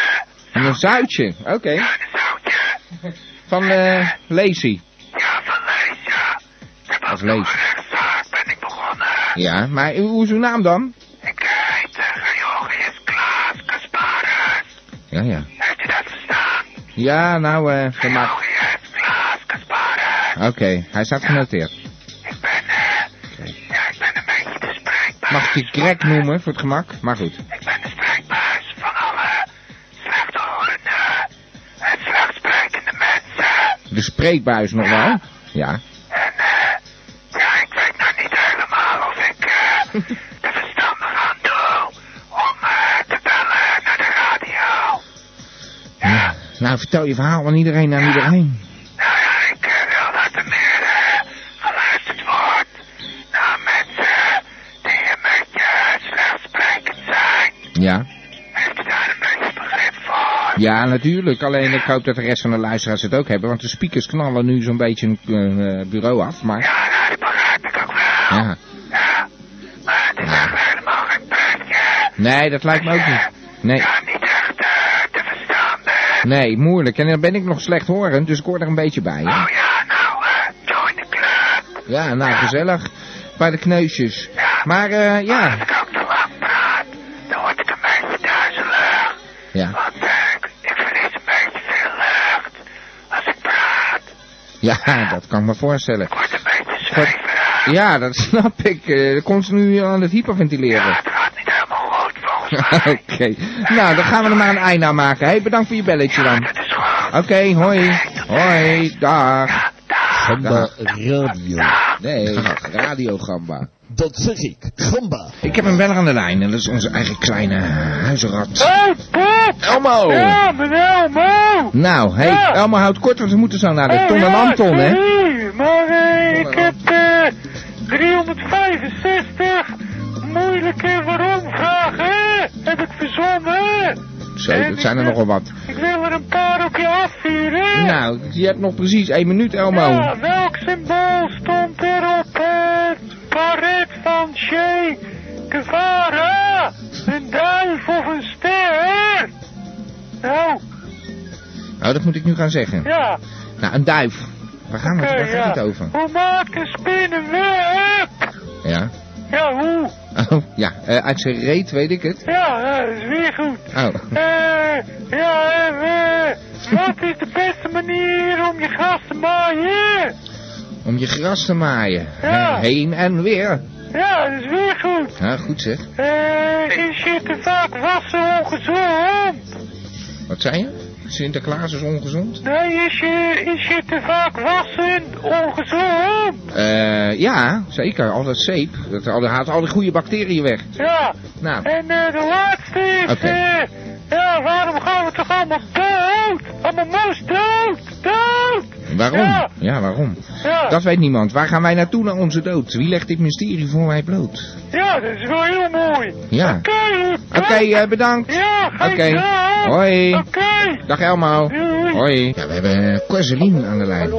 Speaker 2: in een zuitje. Oké.
Speaker 11: Een zoutje.
Speaker 2: Van eh, Lazy.
Speaker 11: Ja, van Leesje. Ik heb
Speaker 2: Of Lees.
Speaker 11: rechtszaak ben ik begonnen.
Speaker 2: Ja, maar hoe is uw naam dan?
Speaker 11: Ik heet uh, Johannes Klaas Kasparus.
Speaker 2: Ja, ja.
Speaker 11: Heeft u dat verstaan?
Speaker 2: Ja, nou, eh, dat maakt...
Speaker 11: Johannes Klaas Kasparus.
Speaker 2: Oké, hij staat genoteerd.
Speaker 11: Ik ben, eh, ja, ik ben een beetje de spreekbaas.
Speaker 2: Mag ik je Greg noemen, voor het gemak? Maar goed.
Speaker 11: Ik ben de spreekbaas van alle slechthorenden en slechtsprekende mensen.
Speaker 2: De spreekbuis nog wel? Ja.
Speaker 11: En eh, ja, ik weet nog niet helemaal of ik eh er verstandig aan doe om eh, te bellen naar de radio.
Speaker 2: Ja. Nou, vertel je verhaal aan iedereen, aan iedereen.
Speaker 11: Nou ja, ik eh, wil dat er meer eh, geluisterd wordt naar mensen die een beetje slechtsprekend zijn.
Speaker 2: Ja.
Speaker 11: Heeft u daar een beetje begrip voor?
Speaker 2: Ja, natuurlijk. Alleen ik hoop dat de rest van de luisteraars het ook hebben. Want de speakers knallen nu zo'n beetje een eh, bureau af. Maar
Speaker 11: Ja, nou, dat begrijp ik ook wel.
Speaker 2: ja.
Speaker 11: Ja, maar het is echt helemaal geen pretje.
Speaker 2: Nee, dat lijkt me ook niet. Nee,
Speaker 11: Ja, niet echt eh, te verstaan bent.
Speaker 2: nee, moeilijk. En dan ben ik nog slechthorend, dus ik hoor er een beetje bij. hè.
Speaker 11: Oh ja, nou, eh, join de club.
Speaker 2: Ja, nou, gezellig. Bij de kneusjes. Maar eh,
Speaker 11: Als
Speaker 2: ja.
Speaker 11: ik ook te lang praat, dan word ik een beetje duizelig.
Speaker 2: Ja.
Speaker 11: Want eh, ik, ik verlies een beetje veel lucht. Als ik praat,
Speaker 2: ja, dat kan ik me voorstellen.
Speaker 11: word ik een beetje zweverig.
Speaker 2: Ja, dat snap ik. Eh continu aan het hyperventileren.
Speaker 11: Het gaat niet helemaal goed volgens
Speaker 2: Oké.
Speaker 11: mij.
Speaker 2: Nou, dan gaan we er maar een einde aan maken. hey, bedankt voor je belletje dan.
Speaker 11: Dat is gewoon
Speaker 2: Oké, hoi. Hoi, dag.
Speaker 12: Gamba Radio.
Speaker 2: Nee, radiogamba.
Speaker 12: Dat zeg ik. Gamba.
Speaker 2: Ik heb hem wel aan de lijn en dat is onze eigen kleine huizenrat.
Speaker 13: Hey, Pop!
Speaker 2: Elmo!
Speaker 13: Ja, meneer Elmo!
Speaker 2: Nou, hé, hey,
Speaker 13: Ja.
Speaker 2: Elmo houdt kort, want Nou, we moeten zo naar de
Speaker 13: Oh,
Speaker 2: Ton en
Speaker 13: ja,
Speaker 2: Anton, hè?
Speaker 13: sorry, Maar eh,
Speaker 2: Ton
Speaker 13: ik
Speaker 2: en
Speaker 13: heb eh, 365 moeilijke waarom-vragen hè, heb ik verzonnen.
Speaker 2: Zo, dat zijn er nogal wat.
Speaker 13: Ik wil er een paar op je afvuren.
Speaker 2: Nou, je hebt nog precies één minuut, Elmo.
Speaker 13: Ja, Ah, welk symbool stond er op het paret van Che Guevara? Een duif of een ster? Nou,
Speaker 2: dat moet ik nu gaan zeggen.
Speaker 13: Ja,
Speaker 2: Nou, een duif. Waar, gaan we,
Speaker 13: oké,
Speaker 2: waar
Speaker 13: ja.
Speaker 2: gaat het over?
Speaker 13: Hoe maakt een spin een web?
Speaker 2: Ja.
Speaker 13: Ja, hoe?
Speaker 2: Oh, ja. eh, uit zijn reet weet ik het.
Speaker 13: Ja, ja, dat is weer goed.
Speaker 2: Oh.
Speaker 13: Eh, ja, en, eh, wat is de beste manier om je gras te maaien?
Speaker 2: Om je gras te maaien.
Speaker 13: Ja.
Speaker 2: Eh, Heen en weer.
Speaker 13: Ja, dat is weer goed.
Speaker 2: Ja, goed zeg.
Speaker 13: Eh, is je te vaak wassen ongezond?
Speaker 2: Wat zei je? Sinterklaas is ongezond?
Speaker 13: Nee, is je, is je te vaak wassen ongezond?
Speaker 2: Eh, ja, zeker. Al dat zeep. Dat al- dat haalt al die goede bacteriën weg.
Speaker 13: Ja,
Speaker 2: Nou,
Speaker 13: en eh, de laatste is,
Speaker 2: Oké.
Speaker 13: eh, ja, waarom gaan we toch allemaal dood? Allemaal moos dood, dood!
Speaker 2: waarom?
Speaker 13: Ja.
Speaker 2: Ja, waarom?
Speaker 13: Ja,
Speaker 2: Dat weet niemand. Waar gaan wij naartoe naar onze dood? Wie legt dit mysterie voor mij bloot?
Speaker 13: ja, dat is wel heel mooi.
Speaker 2: Ja.
Speaker 13: Oké,
Speaker 2: Oké, eh, bedankt.
Speaker 13: Ja, ga
Speaker 2: Oké.
Speaker 13: je gang.
Speaker 2: Hoi.
Speaker 13: Oké.
Speaker 2: Dag Elmo.
Speaker 13: Doei.
Speaker 2: Hoi. Ja, we hebben eh, Corseline aan de lijn.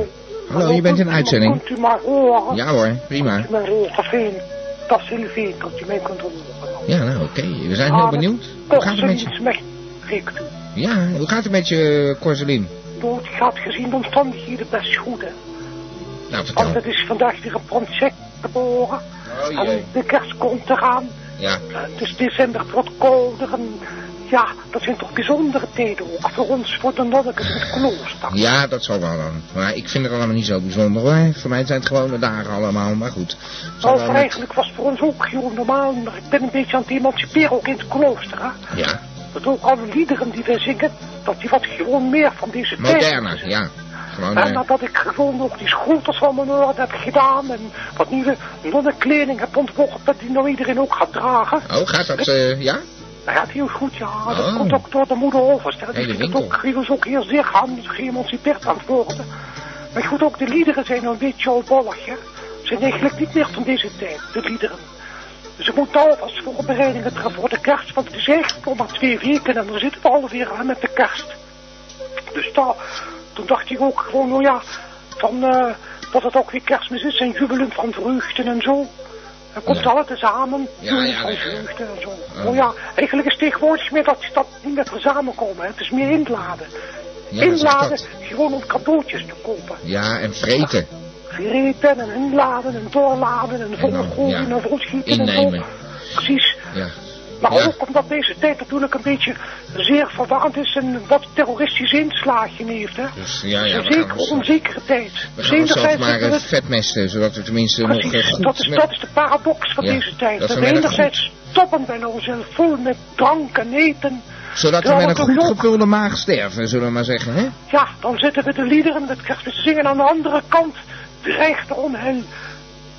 Speaker 2: Hallo, je bent in uitzending.
Speaker 10: Kunt u maar horen?
Speaker 2: Ja hoor, prima.
Speaker 10: Kunt u maar horen? Sylvie, dat is Sylvie, dat u mij kunt horen.
Speaker 2: Ja, nou oké. We zijn
Speaker 10: Ah,
Speaker 2: heel benieuwd. Hoe gaat het met je?
Speaker 10: Corseline smecht riekt u.
Speaker 2: Ja, hoe gaat het met je, eh, Corseline?
Speaker 10: Nou, het gaat gezien de omstandigheden best goed, hè.
Speaker 2: Nou,
Speaker 10: Want
Speaker 2: vertel.
Speaker 10: het is vandaag weer een prinses geboren.
Speaker 2: Oh, jee.
Speaker 10: en de kerst komt eraan.
Speaker 2: Ja,
Speaker 10: Eh, Het is december, het wordt kouder. En ja, dat zijn toch bijzondere tijden ook. Voor ons, voor de nonnekes in het klooster.
Speaker 2: ja, dat zal wel dan. Maar ik vind het allemaal niet zo bijzonder hoor. Voor mij zijn het gewone dagen allemaal, maar goed. Zal
Speaker 10: Nou,
Speaker 2: wel met...
Speaker 10: eigenlijk was het voor ons ook heel normaal, maar ik ben een beetje aan het emanciperen, ook in het klooster. Hè?
Speaker 2: Ja,
Speaker 10: Dat ook alle liederen die wij zingen, dat die wat gewoon meer van deze tijd.
Speaker 2: moderner, ja. Gewoon,
Speaker 10: En
Speaker 2: eh,
Speaker 10: nadat ik gewoon ook die schoenters van mijn oor heb gedaan en wat nieuwe nonnenkleding heb ontworpen die nou iedereen ook gaat dragen.
Speaker 2: Oh, gaat dat, eh, ja?
Speaker 10: Dat gaat heel goed, ja. Dat
Speaker 2: Oh.
Speaker 10: komt ook door de moeder overster.
Speaker 2: Hele
Speaker 10: Die vindt
Speaker 2: winkel.
Speaker 10: het ook, die was ook heel zeer gaan, geëmancipeerd aan het worden. Maar goed, ook de liederen zijn een beetje albollig, hè. Ze zijn eigenlijk niet meer van deze tijd, de liederen. Dus ik moet alvast voorbereidingen treffen voor de kerst, want het is eigenlijk nog maar twee weken en dan zitten we alweer aan met de kerst. Dus daar, toen dacht ik ook gewoon, nou ja, van, eh, dat het ook weer kerstmis is en jubelen van vreugde en zo. Dan komt
Speaker 2: Ja.
Speaker 10: alles samen,
Speaker 2: Ja,
Speaker 10: jubelen
Speaker 2: ja,
Speaker 10: van
Speaker 2: ja, ja.
Speaker 10: vreugde en zo.
Speaker 2: Ah.
Speaker 10: Oh ja, eigenlijk is tegenwoordig meer dat, dat niet meer verzamelen komen. hè. Het is meer inladen.
Speaker 2: Ja, dat is
Speaker 10: inladen,
Speaker 2: dat.
Speaker 10: gewoon om cadeautjes te kopen.
Speaker 2: Ja, en vreten.
Speaker 10: Vereten en inladen en doorladen en
Speaker 2: dan,
Speaker 10: volgooien
Speaker 2: ja,
Speaker 10: en volschieten
Speaker 2: innemen.
Speaker 10: en zo. Precies.
Speaker 2: Ja.
Speaker 10: Maar
Speaker 2: Ja.
Speaker 10: ook omdat deze tijd natuurlijk een beetje zeer verwarrend is en wat terroristische inslagen heeft. Hè.
Speaker 2: Dus ja,
Speaker 10: Het is
Speaker 2: ja,
Speaker 10: een
Speaker 2: we gaan
Speaker 10: zekere
Speaker 2: ons,
Speaker 10: onzekere tijd.
Speaker 2: we gaan onszelf
Speaker 10: Enerzijds
Speaker 2: maar
Speaker 10: hebben we
Speaker 2: eh,
Speaker 10: het-
Speaker 2: vetmesten, zodat we tenminste nog eh,
Speaker 10: Precies,
Speaker 2: goed...
Speaker 10: dat is,
Speaker 2: met-
Speaker 10: dat is de paradox van
Speaker 2: Ja,
Speaker 10: deze tijd.
Speaker 2: dat
Speaker 10: Dat
Speaker 2: we
Speaker 10: we
Speaker 2: met een
Speaker 10: enerzijds stoppen bij onszelf vol met drank en eten.
Speaker 2: Zodat we
Speaker 10: terwijl
Speaker 2: met een
Speaker 10: het
Speaker 2: goed
Speaker 10: ook-
Speaker 2: gevulde maag sterven, zullen we maar zeggen, hè?
Speaker 10: Ja, dan zitten we de liederen met kerstmis te zingen. Aan de andere kant dreigt er onheil.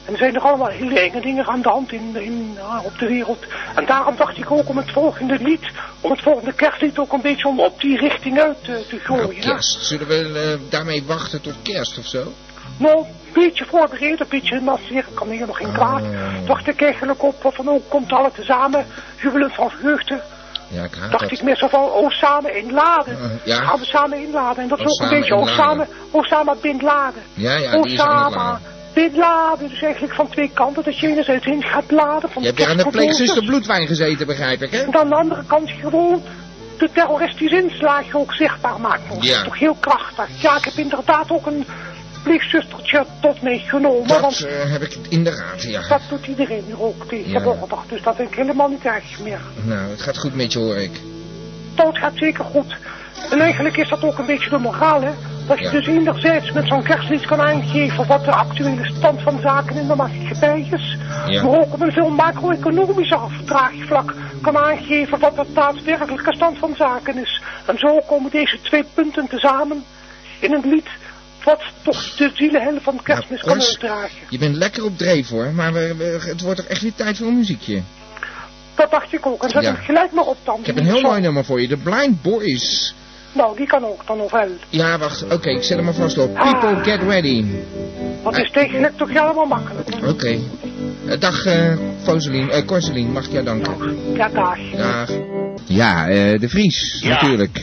Speaker 10: En er zijn er allemaal heel enge dingen aan de hand in, in, ah, op de wereld. En daarom dacht ik ook om het volgende lied, om het volgende kerstlied ook een beetje om op die richting uit eh, te, te
Speaker 2: Nou,
Speaker 10: gooien. hè.
Speaker 2: kerst. Zullen we eh, daarmee wachten tot kerst of zo?
Speaker 10: Nou, een beetje voorbereid, een beetje masseren, kan hier nog geen kwaad.
Speaker 2: Ah.
Speaker 10: Dacht ik eigenlijk op, van ook komt alle tezamen, jubelend van vreugde.
Speaker 2: Ja, ik haat
Speaker 10: dacht
Speaker 2: dat.
Speaker 10: ik meer zo van, oh samen inladen.
Speaker 2: Eh, ja.
Speaker 10: Gaan we samen inladen. En dat
Speaker 2: Oh,
Speaker 10: is ook een
Speaker 2: samen
Speaker 10: beetje oh, Osama,
Speaker 2: inladen.
Speaker 10: Osama Bin Laden.
Speaker 2: Ja, ja, die is aan het
Speaker 10: Osama
Speaker 2: laden.
Speaker 10: Bin Laden. Oh, Dus eigenlijk van twee kanten. Dat je enerzijds in gaat laden van
Speaker 2: Je hebt weer aan de
Speaker 10: kerstcadeautjes.
Speaker 2: pleegzuster bloedwijn gezeten, begrijp ik, hè?
Speaker 10: En aan de andere kant gewoon de terroristische inslagen ook zichtbaar maakt. Dat
Speaker 2: Ja.
Speaker 10: is toch heel krachtig. Ja, ik heb inderdaad ook een pleegzustertje tot mij genomen.
Speaker 2: Dat
Speaker 10: want
Speaker 2: eh, heb ik in de raad, ja.
Speaker 10: dat doet iedereen nu ook tegenwoordig. Dus dat vind ik helemaal niet erg meer.
Speaker 2: Nou, het gaat goed met je, hoor ik.
Speaker 10: dat gaat zeker goed. En eigenlijk is dat ook een beetje de moraal, hè? Dat je
Speaker 2: Ja.
Speaker 10: dus enerzijds met zo'n kerstlied kan aangeven wat de actuele stand van zaken in de maatschappij is.
Speaker 2: Ja.
Speaker 10: Maar ook op een veel macro-economischer draagvlak kan aangeven wat de daadwerkelijke stand van zaken is. En zo komen deze twee punten tezamen in een lied wat toch de zielenhel van kerstmis
Speaker 2: Nou,
Speaker 10: kan
Speaker 2: Cors,
Speaker 10: uitdragen.
Speaker 2: Je bent lekker op dreef, hoor. Maar we, we- het wordt toch echt weer tijd voor een muziekje.
Speaker 10: Dat dacht ik ook. En zet
Speaker 2: Ja.
Speaker 10: hem gelijk maar op dan.
Speaker 2: Ik heb een heel
Speaker 10: Zo.
Speaker 2: mooi nummer voor je. The Blind Boys.
Speaker 10: Nou, die kan ook Ah. dan nog wel.
Speaker 2: Ja, wacht. Oké, ik zet hem maar vast op. People get ready.
Speaker 10: Want het is tegenlijk toch helemaal makkelijk.
Speaker 2: Oké. Eh, dag, eh Foseline. Eh, Corseline, mag ik jou danken.
Speaker 10: Ja, dag.
Speaker 2: Dag. Ja, eh, de Vries,
Speaker 3: Ja.
Speaker 2: natuurlijk.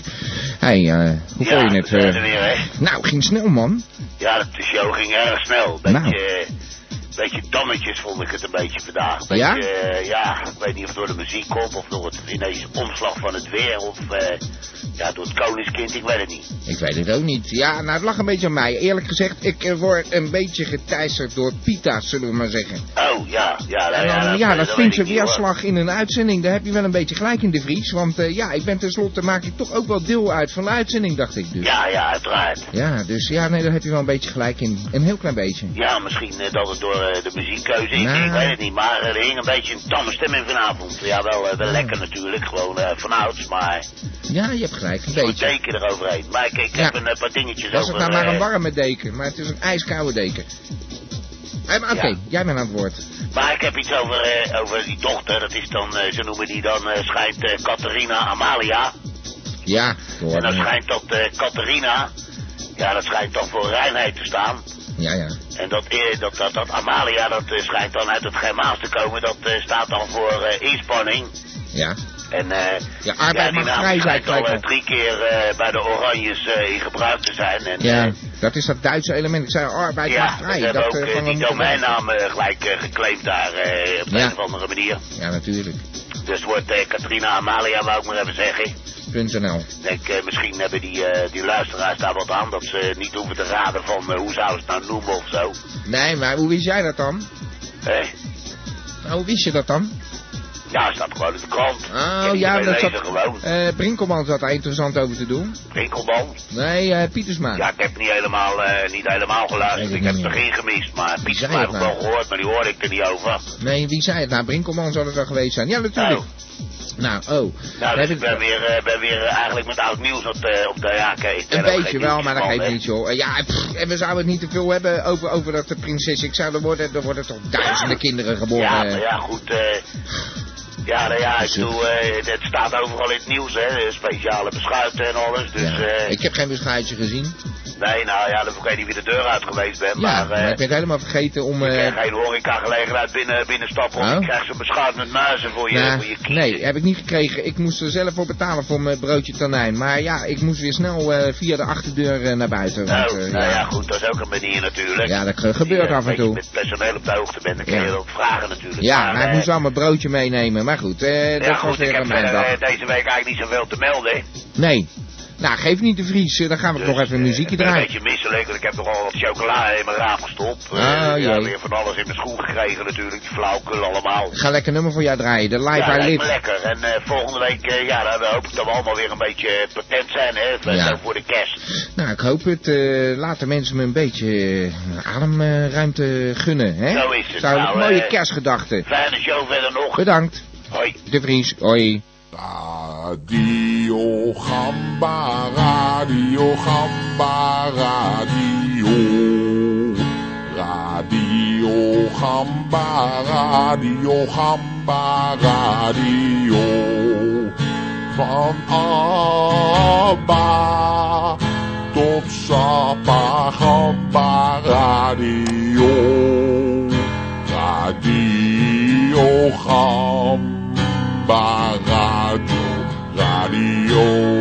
Speaker 2: Hé, eh, hoe
Speaker 3: ja,
Speaker 2: vond je het?
Speaker 3: we zijn
Speaker 2: eh?
Speaker 3: er weer, hè?
Speaker 2: nou, ging snel, man.
Speaker 3: Ja, dat de show ging erg snel. Dat
Speaker 2: Nou.
Speaker 3: je,
Speaker 14: beetje dammetjes vond ik het een beetje vandaag. Beetje,
Speaker 2: Ja?
Speaker 14: eh, ja, ik weet niet of het door de muziek komt of door het ineens omslag van het weer of eh, ja, door het koningskind, ik weet het niet.
Speaker 2: Ik weet het ook niet. Ja, nou, het lag een beetje aan mij. Eerlijk gezegd, ik eh, word een beetje geteisterd door pita's, zullen we maar zeggen.
Speaker 14: Oh, ja, ja, nou,
Speaker 2: En
Speaker 14: ja,
Speaker 2: dan,
Speaker 14: dat-
Speaker 2: ja,
Speaker 14: dat
Speaker 2: dat
Speaker 14: weet
Speaker 2: vindt
Speaker 14: ik
Speaker 2: ze
Speaker 14: niet, hoor.
Speaker 2: weerslag in een uitzending. Daar heb je wel een beetje gelijk in de Vries. Want eh, ja, ik ben tenslotte, maak ik toch ook wel deel uit van de uitzending, dacht ik dus.
Speaker 14: Ja, ja, uiteraard.
Speaker 2: Ja, dus ja, nee, daar heb je wel een beetje gelijk in. Een heel klein beetje.
Speaker 14: Ja, misschien eh, dat het door eh, de muziekkeuze is.
Speaker 2: Nou.
Speaker 14: Ik weet het niet, maar er hing een beetje een tamme stem in vanavond. Ja, wel, eh, wel lekker natuurlijk, gewoon eh vanouds, maar
Speaker 2: Ja, je hebt gelijk, een
Speaker 14: goed
Speaker 2: beetje.
Speaker 14: deken eroverheen. Maar ik, ik
Speaker 2: Ja.
Speaker 14: heb een eh, paar dingetjes
Speaker 2: Was
Speaker 14: over...
Speaker 2: het nou maar
Speaker 14: eh,
Speaker 2: een warme deken, maar het is een ijskoude deken. Eh, maar Oké,
Speaker 14: Ja.
Speaker 2: jij bent aan het woord.
Speaker 14: Maar ik heb iets over, eh, over die dochter, dat is dan, eh, ze noemen die dan, eh, schijnt eh, Catharina Amalia.
Speaker 2: Ja, hoor.
Speaker 14: En dan schijnt dat eh Catharina, ja, dat schijnt dan voor reinheid te staan.
Speaker 2: Ja, ja.
Speaker 14: En dat, eh, dat, dat, dat Amalia, dat eh, schijnt dan uit het Germaans te komen, dat eh, staat dan voor eh, inspanning.
Speaker 2: Ja.
Speaker 14: En eh,
Speaker 2: Ja, arbeid
Speaker 14: die
Speaker 2: mag
Speaker 14: naam
Speaker 2: vrij zijn,
Speaker 14: schijnt al
Speaker 2: gelijk
Speaker 14: eh,
Speaker 2: al.
Speaker 14: drie keer eh, bij de Oranjes eh, in gebruik te zijn. En, eh,
Speaker 2: Ja, dat is dat Duitse element. Ik zei oh, arbeid
Speaker 14: ja,
Speaker 2: maakt vrij.
Speaker 14: ze hebben ook
Speaker 2: eh,
Speaker 14: eh,
Speaker 2: van
Speaker 14: die
Speaker 2: een-
Speaker 14: domeinnaam eh, gelijk eh, geclaimd daar eh, op de
Speaker 2: Ja.
Speaker 14: een of andere manier.
Speaker 2: Ja, natuurlijk.
Speaker 14: Dus het wordt eh, Katrina Amalia, wou ik maar even zeggen.
Speaker 2: .nl.
Speaker 14: Ik denk, eh, misschien hebben die, eh, die luisteraars daar wat aan, dat ze niet hoeven te raden van eh, hoe zouden ze het nou noemen of zo.
Speaker 2: Nee, maar hoe wist jij dat dan?
Speaker 14: Eh,
Speaker 2: Nou, hoe wist je dat dan?
Speaker 14: ja, staat gewoon in de krant.
Speaker 2: Oh,
Speaker 14: Kan
Speaker 2: ja,
Speaker 14: iedereen
Speaker 2: dat
Speaker 14: lezen
Speaker 2: zat,
Speaker 14: gewoon.
Speaker 2: eh Brinkelman zat daar interessant over te doen.
Speaker 14: Winkelman.
Speaker 2: Nee, eh, Pietersma.
Speaker 14: Ja, ik heb niet helemaal, eh, niet helemaal
Speaker 2: Weet
Speaker 14: geluisterd.
Speaker 2: ik
Speaker 14: Ik heb
Speaker 2: niet
Speaker 14: het
Speaker 2: meer.
Speaker 14: erin gemist, maar Piet
Speaker 2: zei
Speaker 14: heb ik
Speaker 2: het
Speaker 14: wel
Speaker 2: nou?
Speaker 14: gehoord, maar die hoorde ik er niet over.
Speaker 2: Nee, wie zei het? Nou, Brinkelman zou het wel geweest zijn. Ja, natuurlijk.
Speaker 14: Oh.
Speaker 2: Nou, oh.
Speaker 14: Nou,
Speaker 2: Heb
Speaker 14: dus ik ben weer, eh, ben weer eh, eigenlijk met oud nieuws op de, op de ja, kijk, ik ben
Speaker 2: Een
Speaker 14: ook
Speaker 2: beetje
Speaker 14: geen
Speaker 2: wel, maar dat
Speaker 14: nieuwsman,
Speaker 2: geeft
Speaker 14: hè.
Speaker 2: niet, joh. Eh, Ja, pff, en we zouden het niet te veel hebben over, over dat de prinses. Ik zou er worden, er worden toch duizenden kinderen geboren.
Speaker 14: Ja,
Speaker 2: eh.
Speaker 14: maar ja, goed. eh, ja, nou ja, ik
Speaker 2: Zo.
Speaker 14: bedoel, eh, het staat overal in het nieuws, hè. Speciale beschuiten en alles. Dus,
Speaker 2: Ja.
Speaker 14: eh,
Speaker 2: Ik heb geen beschuitje gezien.
Speaker 14: nee, nou ja, dan vergeet je wie de deur uit geweest bent.
Speaker 2: ja,
Speaker 14: maar eh,
Speaker 2: maar ik ben helemaal vergeten om...
Speaker 14: ik
Speaker 2: eh,
Speaker 14: krijg geen horecagelegenheid binnen, binnenstappen. Of
Speaker 2: Oh.
Speaker 14: je krijgt zo'n beschuit met muizen voor je,
Speaker 2: Nou,
Speaker 14: voor je kiezen.
Speaker 2: nee, heb ik niet gekregen. Ik moest er zelf voor betalen voor mijn broodje tonijn. Maar ja, ik moest weer snel eh, via de achterdeur eh, naar buiten.
Speaker 14: Nou,
Speaker 2: want, eh,
Speaker 14: nou ja,
Speaker 2: ja.
Speaker 14: goed, dat is ook een manier natuurlijk.
Speaker 2: Ja, dat ge- gebeurt
Speaker 14: Ja,
Speaker 2: af en
Speaker 14: dat je
Speaker 2: toe.
Speaker 14: met personeel op de hoogte bent, dan kun je
Speaker 2: Ja.
Speaker 14: dat ook vragen natuurlijk.
Speaker 2: Ja, maar ik
Speaker 14: eh,
Speaker 2: moest wel mijn broodje meenemen. Maar goed, eh,
Speaker 14: ja,
Speaker 2: dat was
Speaker 14: goed, ik
Speaker 2: weer
Speaker 14: heb
Speaker 2: een mijn dag.
Speaker 14: eh, deze week eigenlijk niet zoveel te melden.
Speaker 2: Nee. Nou, geef niet de Vries. eh, Dan gaan we
Speaker 14: Dus,
Speaker 2: nog even
Speaker 14: eh,
Speaker 2: muziekje
Speaker 14: ik ben
Speaker 2: draaien.
Speaker 14: Een beetje misselijk, want ik heb nogal wat chocola in mijn raam gestopt. Eh,
Speaker 2: Ah,
Speaker 14: ja,
Speaker 2: jee.
Speaker 14: weer van alles in mijn schoen gekregen natuurlijk, die flauwkul allemaal.
Speaker 2: Ik ga lekker nummer voor jou draaien. De Live
Speaker 14: ja,
Speaker 2: I
Speaker 14: lijkt me
Speaker 2: Live.
Speaker 14: lekker. En eh, volgende week, eh, ja, dan hoop ik dat we allemaal weer een beetje eh, patent zijn, hè. Voor,
Speaker 2: Ja.
Speaker 14: zo voor de kerst.
Speaker 2: Nou, ik hoop het. eh, laat de mensen me een beetje eh, ademruimte gunnen. Hè?
Speaker 14: Zo is het.
Speaker 2: Zou
Speaker 14: Nou,
Speaker 2: mooie
Speaker 14: eh,
Speaker 2: kerstgedachten.
Speaker 14: Fijne show verder nog.
Speaker 2: Bedankt.
Speaker 14: Hoi.
Speaker 2: De Vries. Hoi.
Speaker 7: Radio Gamba, Radio Gamba, Radio. Radio Gamba, Radio Gamba, Radio. Van Abba tot Sapa Gamba, Radio. Radio Gamba. Barado Radio